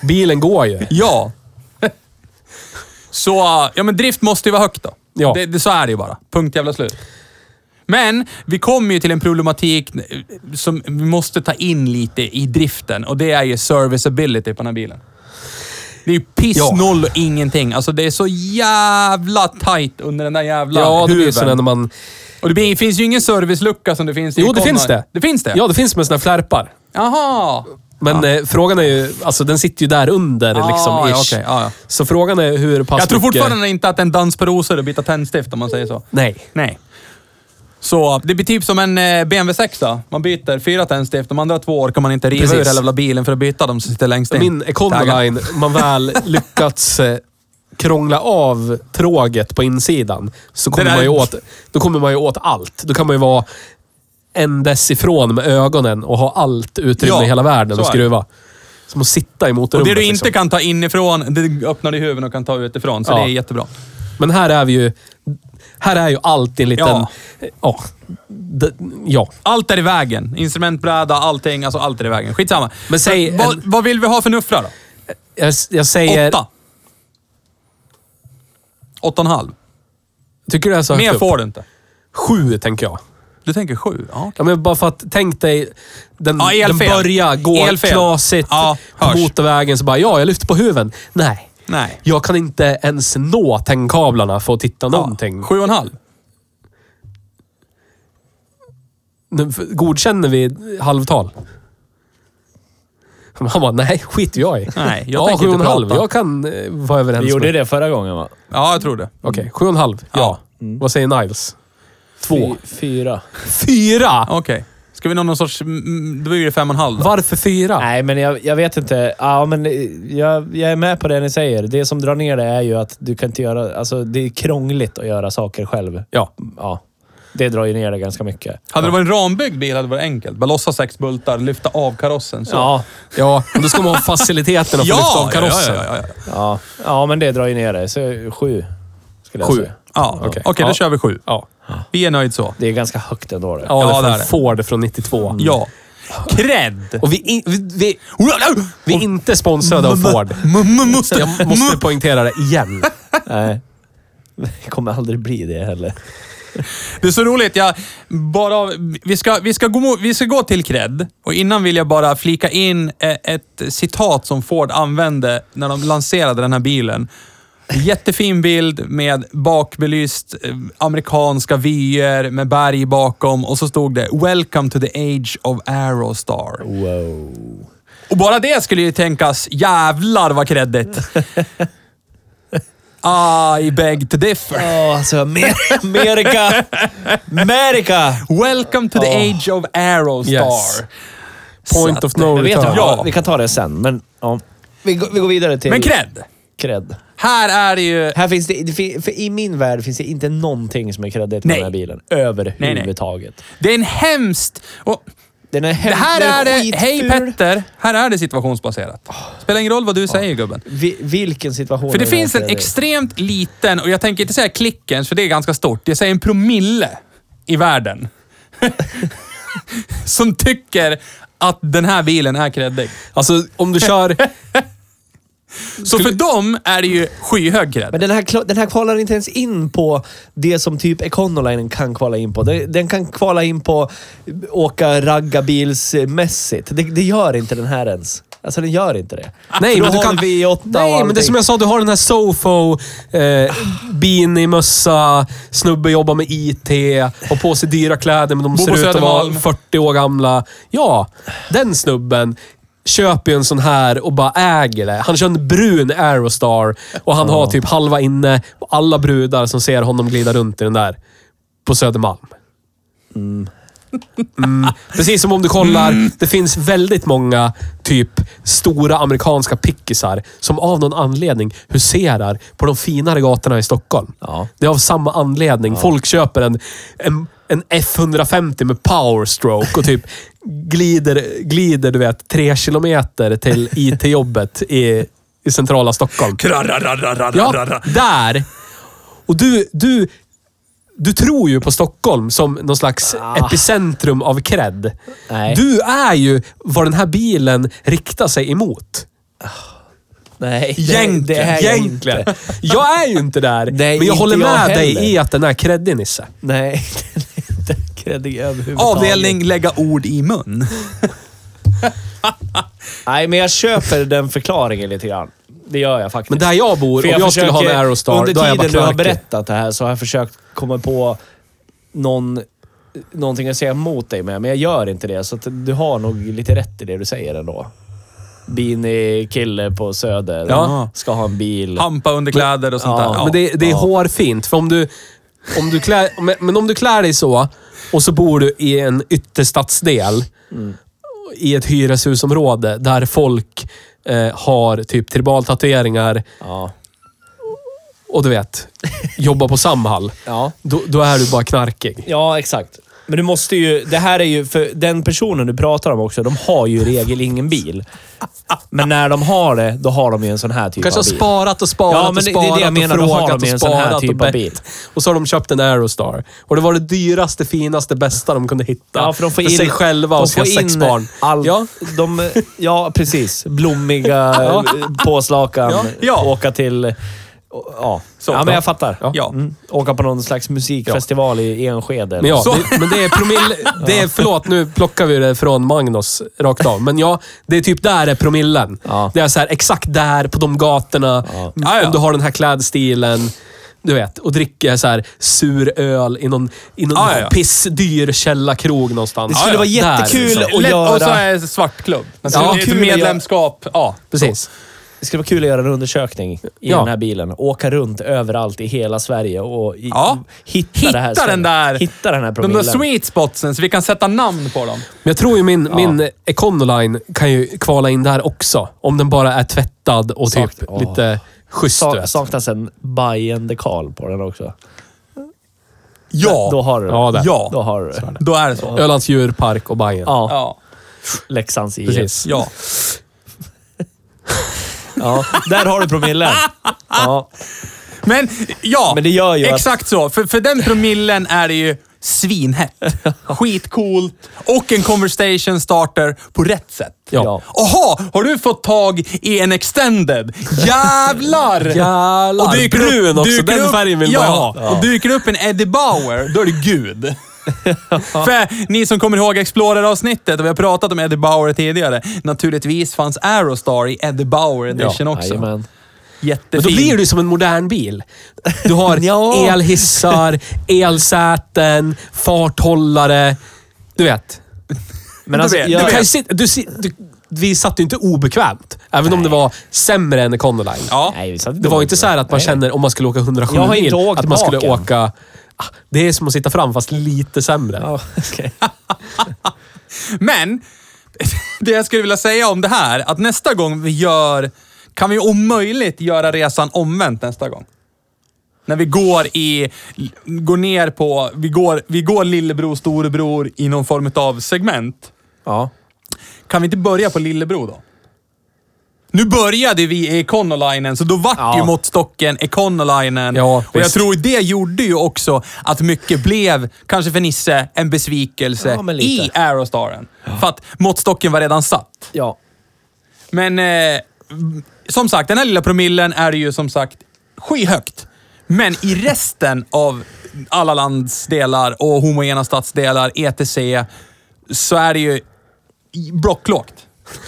S2: Bilen går ju.
S4: Ja. Så, äh, ja men drift måste ju vara högt då.
S2: Ja.
S4: Det, det, så är det ju bara. Punkt jävla slut. Men vi kommer ju till en problematik eh, som vi måste ta in lite i driften och det är ju serviceability på den här bilen. Det är ju piss
S2: Ja.
S4: noll och ingenting. Alltså det är så jävla tight under den där jävla
S2: Ja, det blir ju
S4: huven.
S2: sådär när man...
S4: Och det blir- finns ju ingen servicelucka som det finns i
S2: Jo, det
S4: Connor.
S2: finns det.
S4: Det finns det?
S2: Ja, det finns med såna här flärpar.
S4: Jaha!
S2: Men eh, frågan är ju... Alltså den sitter ju där under
S4: Ah,
S2: liksom.
S4: ja,
S2: ish.
S4: okej, ja, ja.
S2: Så frågan är hur pass
S4: Jag tror
S2: mycket-
S4: fortfarande inte att en dans på rosor är att byta tändstift om man säger så.
S2: Nej.
S4: Nej. Så det blir typ som en eh, BMW 6 då. Man byter fyra tändstift, de andra två år kan man inte riva
S2: Precis.
S4: ur hela jävla bilen för att byta de som sitter längst in.
S2: Min
S4: Taggar.
S2: Econoline, man väl lyckats eh, krångla av tråget på insidan, så kommer
S4: Det där-
S2: man ju åt, då kommer man ju åt allt. Då kan man ju vara en dess ifrån med ögonen och ha allt utrymme
S4: Ja,
S2: i hela världen
S4: så
S2: och
S4: är det.
S2: skruva. Som att sitta i
S4: Och
S2: motorrummet.
S4: det du inte
S2: liksom.
S4: kan ta inifrån, det öppnar du i huvudet och kan ta utifrån. Så
S2: Ja.
S4: det är jättebra.
S2: Men här är vi ju... Här är ju allt i en liten...
S4: Ja.
S2: eh, Ja. D- ja.
S4: Allt är i vägen. Instrumentbräda, allting. Alltså allt är i vägen. Skitsamma.
S2: Men säg
S4: Så vad,
S2: en-
S4: vad vill vi ha för nuffra då?
S2: Jag, jag säger...
S4: Åtta. Åtta och en halv.
S2: Tycker du det är så
S4: Mer
S2: högt upp?
S4: får du inte.
S2: Sju, tänker jag.
S4: Du tänker sju? Ja,
S2: Ja, men bara för att, tänk dig, den,
S4: Ja,
S2: den
S4: elfel.
S2: börjar gå
S4: Elfel.
S2: knasigt
S4: Ja,
S2: på
S4: hörs.
S2: motorvägen, så bara ja, jag lyfter på huven. Nej.
S4: Nej.
S2: Jag kan inte ens nå tändkablarna för att titta någonting.
S4: Sju och en halv.
S2: Nu f- Godkänner vi halvtal? Han bara, nej, skit jag i.
S4: Nej, jag
S2: ja,
S4: tänker
S2: sju och en
S4: inte
S2: halv.
S4: prata.
S2: Jag kan eh, vara överens
S3: Vi gjorde
S2: med...
S3: det förra gången va?
S4: Ja, jag tror det.
S2: Okej, sju och en halv. Ja. Vad säger Niles? Två.
S3: Fy- Fyra.
S2: Fyra!
S4: Okej. Ska vi nå någon sorts... mm, Då blir det fem och en halv då.
S2: Varför fyra?
S3: Nej, men jag, jag vet inte. Ja, men eh, jag, jag är med på det ni säger. Det som drar ner det är ju att du kan inte göra... Alltså, det är krångligt att göra saker själv.
S2: Ja.
S3: Ja. Det drar ju ner det ganska mycket.
S4: Hade det varit en rambyggd bil hade det varit enkelt. Bara lossa sex bultar, lyfta av karossen. Så.
S3: Ja,
S2: Ja, men då ska man ha faciliteterna för att lyfta av karossen.
S4: Ja, ja, ja, ja.
S3: ja. ja, men det drar ju ner det. Så sju, skulle jag
S2: Sju.
S3: säga.
S4: ja. Okej,
S2: Okej.
S4: då
S2: Ja.
S4: kör vi sju.
S2: Ja.
S4: Vi är nöjda så.
S3: Det är ganska högt ändå det.
S2: Ja,
S4: Ja,
S2: det
S4: det
S2: är
S4: är
S2: från
S4: det.
S2: Ford från 92.
S4: Ja. Cred!
S2: Och vi, i- vi, vi,
S3: Mm.
S2: vi är inte sponsrade av Ford.
S4: Mm.
S2: Så jag måste poängtera det igen.
S3: Nej. Det kommer aldrig bli det heller.
S4: Det är så roligt. Jag bara, vi, ska, vi, ska gå, mo- vi ska gå till cred. Och innan vill jag bara flika in eh, ett citat som Ford använde när de lanserade den här bilen. Jättefin bild med bakbelyst eh, amerikanska vyer med berg bakom och så stod det “Welcome to the age of Aerostar”.
S3: Wow.
S4: Och bara det skulle ju tänkas, jävlar vad kreddigt. I beg to differ.
S3: Åh, alltså Amer- Amerika! Amerika!
S4: Welcome to the age of Arrow Star.
S2: Yes. Point of no
S3: Jag vet
S2: return.
S3: inte,
S4: eh, Ja.
S3: vi kan ta det sen, men ja. Vi, går- vi går vidare till
S4: Men cred!
S3: cred.
S4: Här är det ju...
S3: Här finns det, det fin- för i min värld finns det inte någonting som är creddigt med
S4: Nej.
S3: den här bilen.
S4: nej.
S3: Överhuvudtaget.
S4: Det är en hemskt... Och
S3: Den är hem,
S4: det här
S3: den
S4: är det...
S3: skitful.
S4: Hej Petter! Här är det situationsbaserat. Spelar ingen roll vad du säger gubben.
S3: Vi, vilken situation
S4: För det
S3: är
S4: finns en
S3: här creddigt?
S4: extremt liten, och jag tänker inte säga klickens, för det är ganska stort. Jag säger en promille i världen. som tycker att den här bilen är creddig.
S2: Alltså, om du kör...
S4: Så för dem är det ju skyhög cred.
S3: Men den här, kla- den här kvalar inte ens in på det som typ Econoline kan kvala in på. Den, den kan kvala in på åka raggarbilsmässigt. Det, det gör inte den här ens. Alltså den gör inte det.
S4: Ah,
S2: Nej,
S3: För
S2: men
S3: då
S2: du
S3: har
S2: kan...
S3: vi V8 och
S2: Nej, men det är
S3: allting.
S2: som jag sa, du har den här Sofo, eh, beanie, mössa, snubbe jobbar med IT, har på sig dyra kläder men de
S4: Bor på
S2: ser ut att vara
S4: Södermalm.
S2: 40 år gamla. Ja, den snubben köper ju en sån här och bara äger det. Han kör en brun Aerostar och han har typ halva inne och alla brudar som ser honom glida runt i den där på Södermalm. Precis som om du kollar, det finns väldigt många typ stora amerikanska pickisar som av någon anledning huserar på de finare gatorna i Stockholm.
S3: Ja.
S2: Det är av samma anledning. Folk köper en, en, en F150 med powerstroke och typ glider, glider du vet, tre kilometer till IT-jobbet i, i centrala Stockholm. Ja, där! Och du, du, du tror ju på Stockholm som någon slags epicentrum av cred.
S3: Ah. Nej.
S2: Du är ju vad den här bilen riktar sig emot.
S3: Nej,
S2: Egentligen.
S3: det, det är jag
S2: egentligen.
S3: inte.
S2: Jag är ju inte där,
S3: Nej,
S2: men jag
S3: inte
S2: håller
S3: jag
S2: med
S3: heller.
S2: dig i att den är creddig, Nisse.
S3: Nej, den är inte creddig överhuvudtaget.
S4: Avdelning lägga ord i mun.
S3: Nej, men jag köper den förklaringen lite grann. Det gör jag faktiskt.
S2: Men där jag bor,
S3: För
S2: om jag, skulle ha en
S3: försöker-
S2: Aerostar,
S3: Under
S2: då är jag bara
S3: tiden du har
S2: knarkig.
S3: berättat det här så har jag försökt komma på någon, någonting att säga emot dig med, men jag gör inte det. Så att du har nog lite rätt i det du säger ändå. Beanie-kille på Söder
S4: Ja.
S3: ska ha en bil.
S4: Hampa under kläder och sånt
S3: Ja,
S4: där.
S2: Men det, det är
S3: Ja.
S2: hårfint. För om du, om du klär, men, men om du klär dig så och så bor du i en ytterstadsdel i ett hyreshusområde där folk eh, har typ tribaltatueringar
S3: Ja.
S2: och du vet, jobbar på Samhall.
S3: Ja.
S2: Då, då är du bara knarkig.
S3: ja, exakt. Men du måste ju... Det här är ju... För den personen du pratar om också, de har ju i regel ingen bil. Men när de har det, då har de ju en sån här typ
S2: Kanske har
S3: av bil.
S2: sparat och sparat
S3: Ja, men
S2: och
S3: det- det är det
S2: sparat
S3: jag menar. Då
S2: och
S3: har
S2: frågat
S3: de ju
S2: och
S3: en sån här
S2: sparat
S3: typ
S2: och
S3: av bil.
S2: bett. Och så har de köpt en Aerostar. Och det var det dyraste, finaste, bästa de kunde hitta.
S3: Ja, för de får in-
S2: sig själva
S3: de
S2: och sina
S3: får
S2: sex
S3: in
S2: barn.
S3: Allt.
S2: Ja.
S3: Ja. De, ja, precis. Blommiga eh, påslakan.
S4: Ja. Ja.
S3: Åka till... Ja. ja, men jag fattar.
S4: Ja.
S3: Mm. Åka på någon slags musikfestival i Enskede.
S2: Men, ja,
S4: Så-
S2: det, men det är promille... Det är, förlåt, nu plockar vi det från Magnus rakt av. Men ja, det är typ där är promillen.
S3: Ja.
S2: Det är så här, exakt där, på de gatorna. Mm,
S4: Ja, ja.
S2: Om du har den här klädstilen. Du vet, och dricker så här sur öl i någon, i någon
S4: Ja, ja, ja.
S2: pissdyr källarkrog någonstans.
S3: Det skulle vara
S2: Där,
S3: jättekul
S2: liksom.
S3: att
S4: Lätt- Och så
S3: göra...
S4: är det svartklubb.
S2: Ja,
S4: Ja,
S3: kul att göra-
S4: medlemskap. Ja.
S2: Precis.
S3: Det skulle vara kul att göra en undersökning i
S2: Ja.
S3: den här bilen. Åka runt överallt i hela Sverige och i,
S4: Ja.
S3: hitta, det
S4: Hitta
S3: här
S4: den
S3: stället.
S4: där-
S3: Hitta den här
S4: De där
S3: promillen.
S4: sweet spotsen, så vi kan sätta namn på dem.
S2: Men jag tror ju min, min Econoline kan ju kvala in där också. Om den bara är tvättad och typ
S3: Sak- åh.
S2: lite schysst. du
S3: Sa,
S2: vet.
S3: saknas en Bajen-dekal på den också.
S4: Ja,
S3: Då har du det.
S2: Ja, där.
S4: Ja.
S3: Då har du det.
S4: då är det så.
S2: Ölands djurpark och Bajen.
S3: Ja.
S4: Ja.
S3: Leksands IF.
S2: Precis.
S4: ja.
S3: Ja, där har du promillen. Ja,
S4: Men ja,
S3: Men det gör ju att-
S4: exakt så. För, för den promillen är det ju svinhett. Skitcoolt. Och en conversation starter på rätt sätt.
S2: Ja.
S4: Aha, har du fått tag i en extended? Jävlar!
S2: Jävlar!
S4: Och dyker
S2: Brun
S4: upp,
S2: också.
S4: dyker
S2: Den
S4: upp,
S2: färgen vill
S4: ja,
S2: man ha.
S4: Och dyker upp en Eddie Bauer, då är det Gud. För ni som kommer ihåg Explorer-avsnittet, och vi har pratat om Eddie Bauer tidigare. Naturligtvis fanns Aerostar i Eddie Bauer edition också.
S3: jajamän.
S4: Jättefin.
S2: Men då blir du som en modern bil. Du har
S3: Ja.
S2: elhissar, elsäten, farthållare. Du vet.
S3: Men alltså,
S4: vet,
S3: jag,
S2: Du,
S4: vet.
S2: kan ju sitta, du, si- du, vi satt ju inte obekvämt. Även om det var sämre än Econoline.
S4: Ja.
S3: Nej, vi satt
S2: Det var inte så här att man
S3: Nej.
S2: känner om man skulle åka 107
S3: Jag har
S2: mil,
S3: inte åkt
S2: att man skulle
S3: bak än.
S2: åka... Ah, Det är som att sitta fram fast lite sämre.
S3: Ja, okej.
S4: Men, det jag skulle vilja säga om det här, att nästa gång vi gör, kan vi om möjligt göra resan omvänt nästa gång. När vi går i, går ner på, vi går, vi går lillebror, storebror i någon form av segment.
S2: Ja.
S4: Kan vi inte börja på lillebror då? Nu började vi i Econolinen, så då vart ju måttstocken Econolinen.
S2: Ja,
S4: och jag
S2: visst.
S4: tror det gjorde ju också att mycket blev, kanske för Nisse, en besvikelse
S3: Ja, men lite.
S4: i Aerostaren. För att måttstocken var redan satt.
S3: ja.
S4: Men eh, som sagt, den här lilla promillen är ju som sagt skyhögt. Men i resten av alla landsdelar och homogena stadsdelar, etc, så är det ju blocklågt.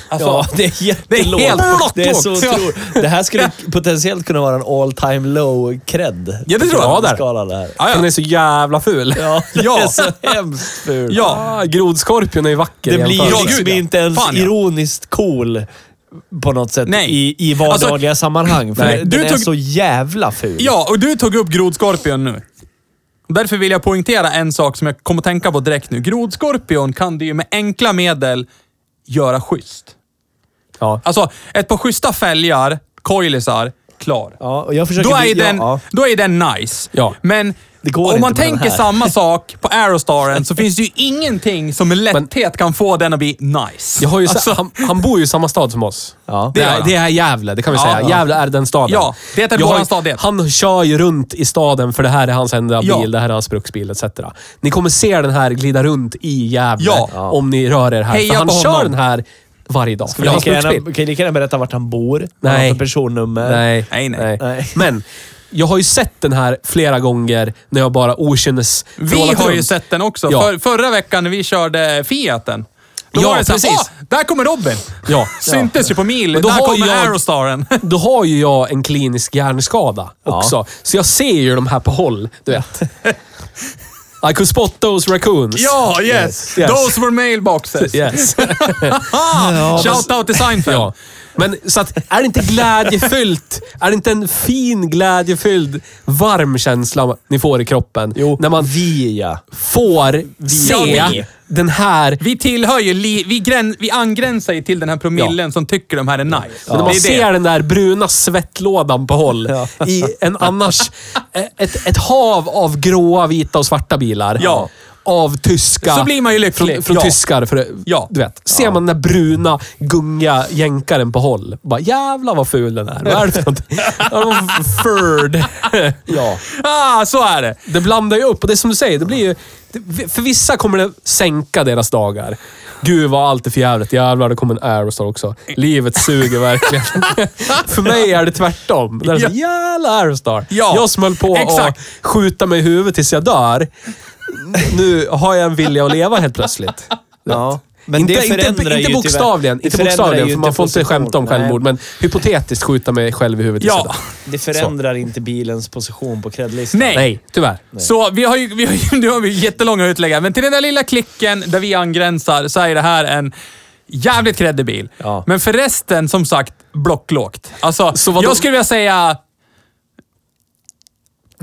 S4: Alltså,
S3: ja, det är
S4: det är
S3: jättelågt.
S4: helt blocklågt.
S3: Det är så
S4: Ja.
S3: otroligt. Det här skulle potentiellt kunna vara en all time low cred.
S4: Ja, det tror jag.
S3: På skalan där.
S4: Ja,
S2: Den
S4: ja.
S2: är så jävla ful.
S3: Ja, det
S4: Ja.
S3: är så hemskt ful.
S4: ja.
S2: Ah, grodskorpion är ju vacker
S3: Det
S2: i
S3: blir
S2: jämförelse.
S4: Ja,
S3: liksom
S4: gud, ja.
S3: inte ens
S4: Fan, ja.
S3: ironiskt cool på något sätt
S4: Nej. Alltså,
S3: i, i vardagliga sammanhang. För
S4: nej,
S3: den
S4: du
S3: är
S4: tog-
S3: så jävla ful.
S4: Ja, och du tog upp grodskorpion nu. Därför vill jag poängtera en sak som jag kom att tänka på direkt nu. Grodskorpion kan du ju med enkla medel göra schysst.
S2: Ja.
S4: Alltså, ett par schyssta fälgar, coilisar, klar.
S3: Ja, och jag försöker
S4: Då är,
S3: bli-
S4: ju den,
S3: ja,
S4: då är ju den nice.
S2: Ja.
S4: Men
S3: Det går
S4: om
S3: inte
S4: man
S3: med den
S4: tänker
S3: här.
S4: samma sak på Aerostaren så finns det ju ingenting som med lätthet kan få den att bli nice.
S2: Jag har ju sa-
S4: Alltså,
S2: han, han bor ju i samma stad som oss.
S3: Ja.
S4: Det
S2: Det,
S4: gör
S2: är,
S4: han.
S2: det är Gävle, det kan vi
S4: Ja,
S2: säga.
S4: ja.
S2: Gävle är den staden.
S4: Ja, det är
S2: Jag har
S4: våran
S2: ju-
S4: stad det.
S2: Han kör ju runt i staden för det här är hans enda bil,
S4: Ja.
S2: det här är hans bruksbil etc. Ni kommer se den här glida runt i Gävle
S4: Ja.
S2: om ni rör er här.
S4: Heja
S2: för han
S4: på
S2: kör
S4: honom.
S2: den här varje dag. För det
S3: ja. Vi
S2: är hans
S3: kan
S2: bruksbil.
S3: gärna, kan lika gärna berätta vart han bor, vad han
S2: Nej.
S3: har för personnummer.
S2: Nej.
S4: Nej, nej.
S3: Nej.
S2: Men jag har ju sett den här flera gånger när jag bara okynnes
S4: vi
S2: trålat
S4: har ju
S2: runt.
S4: sett den också.
S2: Ja.
S4: För, förra veckan när vi körde Fiaten. Då
S2: Ja,
S4: var det såhär,
S2: precis.
S4: "Åh, där kommer Robin!
S2: Ja.
S4: Syntes ju på mil.
S2: Men då
S4: där
S2: har
S4: kommer
S2: jag-
S4: Aerostaren.
S2: Då har ju jag en klinisk hjärnskada också. Så jag ser ju de här på håll, du vet. I could spot those raccoons.
S4: ja, yes.
S2: Yes, yes.
S4: Those were mailboxes.
S2: Yes.
S4: Ah, shout out till Seinfeld.
S2: Ja. Men så att, är det inte glädjefyllt? Är det inte en fin, glädjefylld, varm känsla ni får i kroppen?
S3: Jo,
S2: När man
S3: vi ja.
S2: får
S4: Ja,
S2: se
S4: vi.
S2: den här...
S4: Vi tillhör ju, li, vi, grän, vi angränsar ju till den här promillen som tycker de här är nice.
S2: När man
S4: Det är det.
S2: ser den där bruna svettlådan på håll i en annars... eh, Ett, ett hav av gråa, vita och svarta bilar.
S4: Ja.
S2: Av tyska...
S4: Så blir man ju lycklig.
S2: Från, från
S4: Ja.
S2: tyskar. För,
S4: Ja.
S2: Du vet. Ser man den där bruna, gunga jänkaren på håll. Bara jävlar vad ful den är. Vad är det för någonting? Ja, det var Furd.
S3: ja.
S4: Ah, så är det.
S2: Det blandar ju upp och det är som du säger, det blir ju... det- För vissa kommer det sänka deras dagar. Gud vad allt är för jävligt. Jävlar, det kommer en Aerostar också. Livet suger verkligen. för mig är det tvärtom. Där är det så, jävla Aerostar.
S4: Ja,
S2: Jag som höll på
S4: exakt.
S2: att skjuta mig i huvudet tills jag dör. Nu har jag en vilja att leva helt plötsligt.
S3: ja. Men
S2: inte,
S3: det
S2: inte,
S3: förändrar ju
S2: inte
S3: tyvärr-
S2: bokstavligen,
S3: det
S2: inte
S3: förändrar
S2: bokstavligen
S3: ju
S2: för man får inte
S3: position.
S2: skämta om
S3: Nej.
S2: självmord, men hypotetiskt skjuta mig själv i huvudet tills
S4: Ja.
S2: jag dör.
S3: Det förändrar inte bilens position på credlistan.
S4: Nej.
S2: Nej, tyvärr.
S4: Så vi har ju, vi har ju, nu har vi jättelånga utläggar, men till den där lilla klicken där vi angränsar så är det här en jävligt kreddig bil.
S3: Ja.
S4: Men för resten, som sagt, blocklågt. Alltså,
S2: Så vad
S4: jag
S2: då-
S4: skulle vilja säga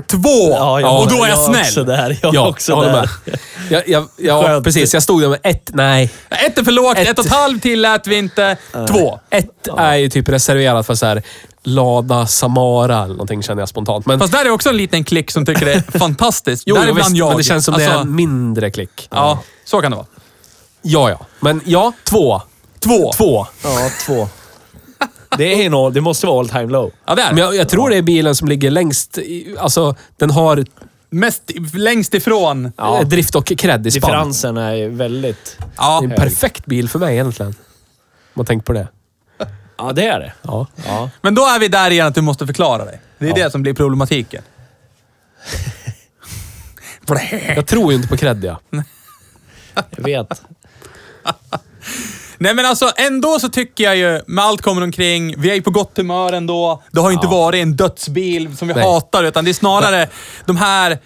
S4: två,
S3: Ja, jag,
S4: och då är jag,
S3: också
S4: snäll.
S3: där. Jag
S2: Ja,
S3: också
S2: jag håller
S3: där.
S2: med. Jag, jag, ja,
S3: Skönt.
S2: precis. Jag stod där med ett, nej.
S4: Ett är för lågt, ett,
S2: Ett.
S4: och ett halvt tillät vi inte. Två.
S2: Ett är ju typ reserverat för så här Lada Samara eller någonting känner jag spontant. Men,
S4: Fast där är också en liten klick som tycker det är fantastiskt.
S2: jo,
S4: där är
S2: jo,
S4: bland
S2: visst,
S4: jag.
S2: men det känns som det är
S4: Alltså,
S2: en mindre klick.
S4: Ja, så kan det vara.
S2: ja. ja. Men ja, två.
S4: Två.
S2: Två.
S3: Ja, två. Det, är en all, det måste vara all time low.
S4: Ja, det är
S2: Men
S4: det.
S2: jag, jag tror det är bilen som ligger längst. i- Alltså, den har
S4: Mest längst ifrån.
S2: eh, drift och cred i spann.
S3: Differensen är ju väldigt...
S4: Ja.
S2: Det är en perfekt bil för mig egentligen. Om man tänker på det.
S3: Ja, det är det.
S2: Ja.
S3: Ja.
S4: Men då är vi där igen att du måste förklara dig. Det är det som blir problematiken.
S2: Jag tror ju inte på cred, ja.
S3: Jag vet.
S4: Nej men alltså ändå så tycker jag ju, med allt kommer omkring, vi är ju på gott humör ändå. Det har ju inte varit en dödsbil som vi
S2: Nej.
S4: hatar, utan det är snarare de här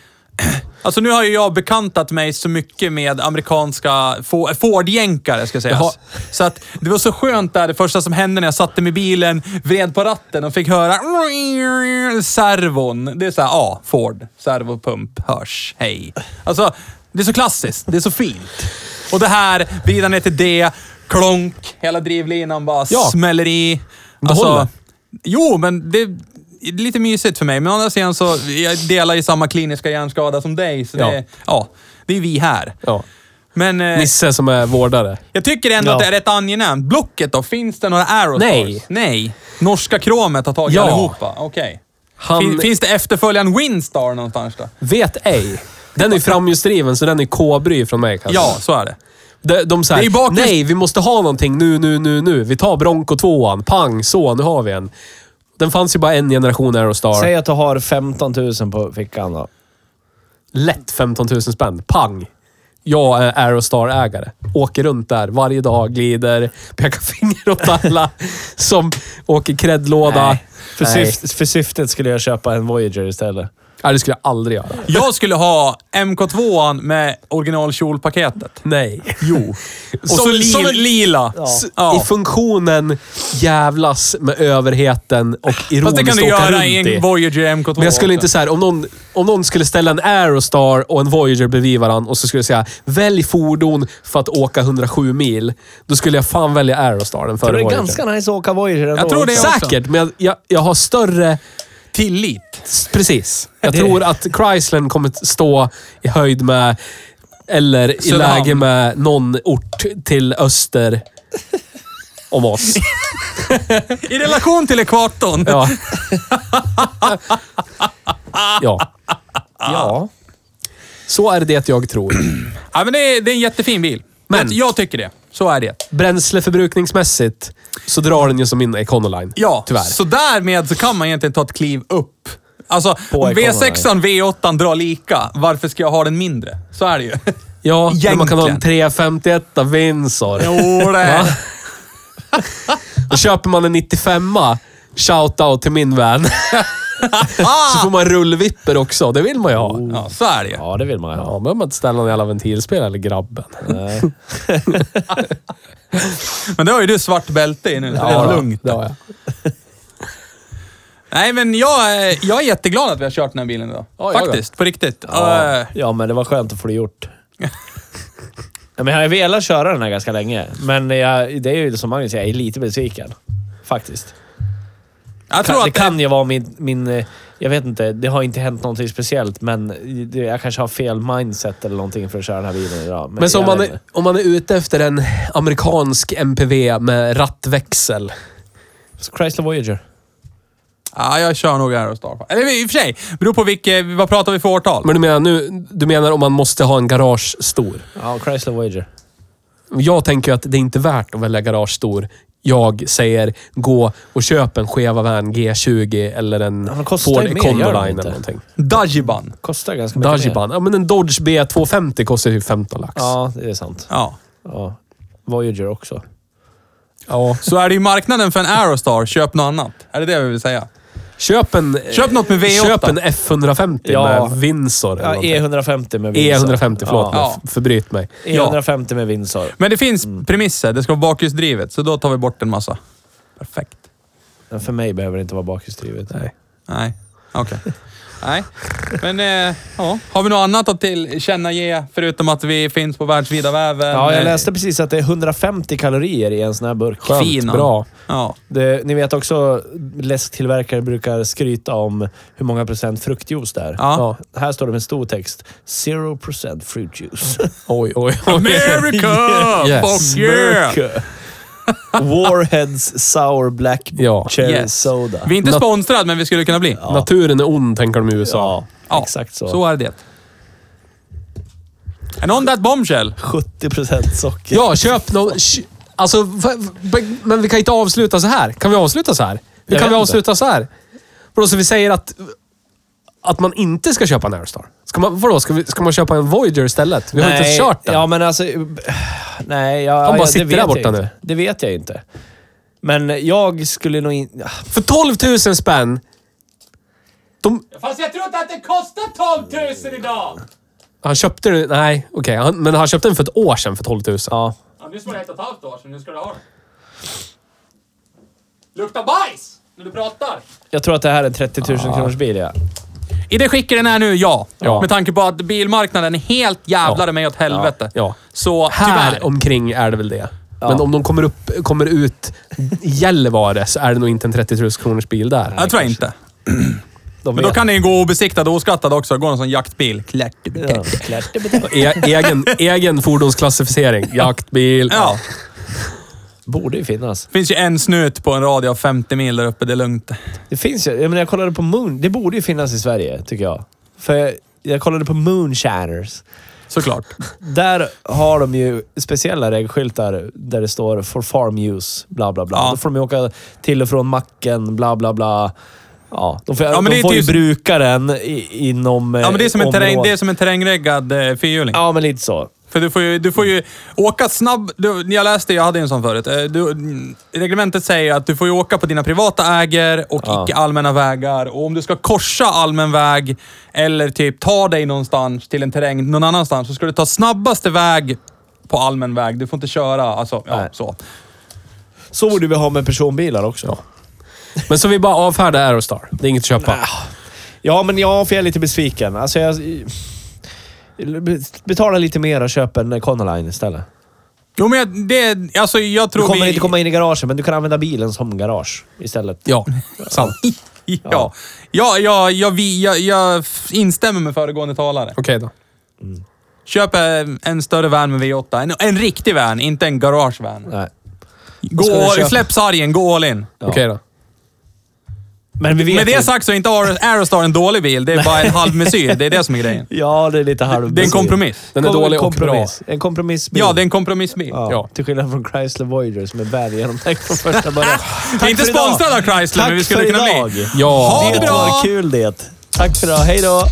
S4: Alltså nu har ju jag bekantat mig så mycket med amerikanska Fo- Ford-jänkare, ska sägas.
S2: Jaha.
S4: Så att det var så skönt där, det första som hände när jag satte mig i bilen, vred på ratten och fick höra servon. Det är så här, ja, Ford. Servopump, hörs, hej. Alltså, det är så klassiskt. Det är så fint. Och det här, vrida ner till det, klonk, hela drivlinan bara
S2: Ja.
S4: smäller i. Alltså,
S2: Det håller.
S4: Jo, men det är lite mysigt för mig. Men å andra sidan så, jag delar ju samma kliniska hjärnskada som dig. Så
S2: Ja.
S4: det, ja, det är vi här.
S2: Ja.
S4: Men eh,
S2: Nisse som är vårdare.
S4: jag tycker ändå
S7: Ja.
S4: att det är rätt angenämt. Blocket då? Finns det några Aerostars?
S2: Nej.
S4: Nej. Norska kromet har tagit
S2: Ja.
S4: allihopa? Okej.
S2: Han-
S4: Fin, finns det efterföljaren Winstar någonstans då?
S2: Vet ej. Den är ju framhjulsdriven, så den är kobry från mig kanske.
S4: Ja, så är det.
S2: De, de
S4: Det är
S2: säger
S4: ju bakhjuls-
S2: nej, vi måste ha någonting nu, nu, nu, nu. Vi tar Bronco 2 Pang, så, nu har vi en. Den fanns ju bara en generation Aerostar.
S3: Säg att du har 15 000 på fickan då.
S2: Lätt 15 000 spänn. Pang! Jag är Aerostar-ägare. Åker runt där varje dag, glider, pekar finger åt alla som åker kreddlåda.
S3: Nej. För, syft, för syftet skulle jag köpa en Voyager istället.
S2: Nej, det skulle jag aldrig göra.
S4: Jag skulle ha MK2 med originalkjolpaketet.
S2: Nej. Jo.
S4: Och så, li- lila.
S2: I funktionen jävlas med överheten och
S4: Fast
S2: ironiskt
S4: det kan du
S2: åka
S4: göra
S2: runt
S4: i
S2: i.
S4: en Voyager MK2
S2: Men jag skulle
S4: också.
S2: inte säga om någon, om någon skulle ställa en Aerostar och en Voyager bredvid varandra och så skulle jag säga välj fordon för att åka 107 mil. Då skulle jag fan välja Aerostaren
S3: För
S2: före
S3: det är
S2: Voyager.
S3: ganska nice att åka Voyager ändå.
S4: Jag tror det också.
S2: Säkert, men jag, jag, jag har större...
S4: Tillit.
S2: s- Precis. Jag tror att Chrysler kommer att stå i höjd med, eller i
S4: Söderhamn.
S2: läge med, någon ort till öster om oss.
S4: I relation till ekvatorn.
S2: Ja. ja.
S3: Ja.
S2: Så är det jag tror.
S4: Ja, men det, är, det är en jättefin bil.
S2: Men-
S4: Jag, jag tycker det. Så är det.
S2: Bränsleförbrukningsmässigt så drar den ju som min Econoline.
S4: Ja,
S2: Tyvärr.
S4: så därmed så kan man egentligen ta ett kliv upp. Alltså,
S3: På
S4: om
S3: ekonomin.
S4: V6 an V8 drar lika, varför ska jag ha den mindre? Så är det ju.
S2: ja, men man kan ha en
S4: egentligen.
S2: 351 Windsor.
S4: Jo, det är-
S2: Då köper man en 95a. Shoutout till min vän.
S3: Ah!
S2: så får man rullvipper också. Det vill man ju ha.
S4: ja, så är det ju.
S3: Ja, det vill man ju
S2: Ja,
S3: ha.
S2: då behöver man inte ställa någon jävla ventilspel eller grabben.
S4: Men det har ju du svart bälte i nu, så det är lugnt.
S2: Det har jag.
S4: Nej, men jag, är- jag är jätteglad att vi har kört den här bilen idag.
S2: Ja, jag
S4: Faktiskt, på riktigt.
S3: Ja.
S4: Eh,
S3: ja, men det var skönt att få det gjort. ja, men jag har velat köra den här ganska länge, men jag, det är ju som Magnus säger, jag är lite besviken. Faktiskt.
S4: jag tror
S3: Kan, det
S4: att
S3: kan ju vara min, min... eh, Jag vet inte, det har inte hänt någonting speciellt, men det- jag kanske har fel mindset eller någonting för att köra den här bilen idag.
S2: Men så om
S3: jag
S2: man,
S3: vet
S2: är,
S3: inte.
S2: om man är ute efter en amerikansk MPV med rattväxel.
S3: Chrysler Voyager.
S4: Ja, jag kör nog Aerostar. Eller i och för sig, beror på vilket, vad pratar vi för årtal?
S2: Men du menar, nu, du menar om man måste ha en garage stor?
S3: Ja, Chrysler Voyager.
S2: Jag tänker att det är inte värt att välja garage stor. Jag säger gå och köp en Cheva Van G20 eller en
S3: Ja, men kostar
S2: Ford
S3: ju mer, gör
S2: Econoline
S3: de
S2: eller
S3: inte?
S2: någonting.
S4: Dajiban.
S3: Kostar ganska mycket mer.
S2: Dajiban. Ja, men en Dodge B250 kostar ju 15 lax.
S3: Ja, det är sant.
S4: Ja.
S3: Ja. Voyager också.
S2: Ja.
S4: Så är det ju marknaden för en Aerostar, köp något annat. Är det det vi vill säga?
S2: Köp en...
S4: Köp något med V8.
S2: Köp en F150
S3: Ja.
S2: med Windsor eller
S3: Ja, E
S2: någonting.
S3: E150 med Windsor.
S2: E150, E förlåt.
S3: Ja.
S2: Ja. Förbryt mig.
S3: E150 med Windsor.
S4: Men det finns premisser. Det ska vara bakhjulsdrivet, så då tar vi bort en massa. Perfekt.
S3: Men för mig behöver det inte vara bakhjulsdrivet. Nej.
S4: Nej, okej. Nej, men eh, ja. Har vi något annat att tillkännage förutom att vi finns på världsvida väven?
S3: Ja, jag
S4: Eh,
S3: läste precis att det är 150 kalorier i en sån här burk.
S2: Skönt.
S4: Finan.
S2: Bra.
S4: Ja.
S3: Det, ni vet också, läsktillverkare brukar skryta om hur många procent fruktjuice det är.
S4: Ja.
S3: Här står det med stor text. 0% fruit juice.
S2: Oj, oj, oj.
S4: America!
S2: Yes.
S4: Fuck yeah!
S3: Warheads Sour Black
S2: Ja.
S3: Cherry
S4: Yes.
S3: Soda.
S4: Vi är inte
S2: Nat-
S4: sponsrade, men vi skulle kunna bli.
S3: Ja.
S2: Naturen är ond, tänker de i USA.
S3: Ja,
S4: Ja,
S3: exakt så.
S4: Så är det. And on that bombshell.
S3: 70% socker.
S2: Ja, köp någon... kö- Alltså, va- va- men vi kan inte avsluta så här. Kan vi avsluta så här? Hur
S3: Jag
S2: kan vi
S3: vet
S2: avsluta så här? Vadå, så vi säger att, att man inte ska köpa en Aerostar? Ska man, vadå, ska, vi, ska man köpa en Voyager istället? Vi har inte ens kört den.
S3: Ja, men alltså... Nej, jag,
S2: bara
S3: jag, det
S2: sitter där
S3: vet jag
S2: borta
S3: inte.
S2: nu.
S3: Det vet jag inte. Men jag skulle nog inte...
S2: För 12 000 spänn. De,
S4: Fast jag tror inte att det kostar 12 000 idag!
S2: Han köpte den... Nej, okej. Han- Men han köpte den för ett år sedan för 12 000.
S3: Ja.
S6: Ja, nu står det ett och ett halvt år sedan, nu ska du ha den. Lukta bajs när du pratar!
S3: Jag tror att det här är en 30 000 kronors bil, ja.
S4: I det skicket den är nu, ja.
S2: Ja.
S4: Med tanke på att bilmarknaden helt jävlade mig åt helvete.
S2: Ja.
S4: Så
S2: Här
S4: tyvärr.
S2: omkring är det väl det. Men om de kommer, upp, kommer ut i Gällivare så är det nog inte en 30 000 kronors bil där.
S4: Jag tror jag inte.
S3: De
S4: Men då
S3: vet.
S4: kan ni gå obesiktat och oskattad också. Gå någon sån jaktbil. Klart. Ja.
S2: E egen, egen fordonsklassificering. Jaktbil.
S4: ja.
S3: Borde ju finnas.
S4: Finns ju en snut på en radie av 50 mil där uppe. Det är lugnt.
S3: Det finns ju. Jag, menar, jag kollade på Moon. Det borde ju finnas i Sverige, tycker jag. För jag, jag kollade på Moonshiners.
S4: Såklart.
S3: Där har de ju speciella regskyltar där det står “For farm use”, bla bla bla.
S4: Ja.
S3: Då får de ju åka till och från macken, bla bla bla. Ja, de får,
S4: men det
S3: de
S4: är
S3: får ju
S4: typ-
S3: bruka den i, inom eh,
S4: Ja, men det är
S2: Eh,
S4: som en, terräng,
S3: området.
S4: det är som en terrängreggad eh, fyrhjuling.
S3: Ja, men lite så.
S4: För du får ju, du får ju åka snabb... Du, jag läste, jag hade ju en sån förut. Eh, Du, mm, reglementet säger att du får ju åka på dina privata äger och icke allmänna vägar. Och om du ska korsa allmän väg eller typ ta dig någonstans till en terräng någon annanstans så ska du ta snabbaste väg på allmän väg. Du får inte köra, alltså ja,
S3: Nej.
S4: så.
S3: Så borde vi ha med personbilar också. Ja,
S2: Men så vi bara avfärdar Aerostar. Det är inget att köpa.
S3: men ja, för jag är lite besviken. Alltså, jag... Betala lite mer och köp en Conaline istället.
S4: Jo, men jag- det... Alltså jag
S3: Du
S4: tror
S3: kommer
S4: vi...
S3: inte komma in i garagen, men du kan använda bilen som garage istället.
S2: Ja, sant. Okej
S4: Ja, ja, ja, ja, vi, ja, jag f- instämmer med föregående talare.
S2: då.
S4: Köp eh, en större van med V8. En, en riktig van, inte en garagevan.
S3: Nej.
S4: Gå,
S3: ska du
S4: all-
S3: köpa?
S4: släpp sargen, gå all in.
S2: Okej då.
S3: Men vi vet
S4: Med
S3: ju-
S4: det sagt så är inte Aero- Aerostar en dålig bil. Det är bara en halvmesyr. Det är det som är grejen.
S3: Ja, det är lite halv...
S4: Det är en kompromiss.
S2: Den är
S3: Kom-
S2: dålig och
S3: kompromiss. En kompromissbil.
S4: Ja, det är en kompromissbil.
S3: Ja,
S2: ja.
S3: Till skillnad från Chrysler Voyager som är väl genomtänkt från första början.
S4: Vi är inte
S3: för idag.
S4: sponsrade av Chrysler, men vi skulle
S3: för
S4: kunna
S3: idag.
S4: bli.
S2: Ja.
S4: Ha
S3: Det
S4: det
S3: var
S4: bra!
S3: kul det. Tack för idag. Hej då!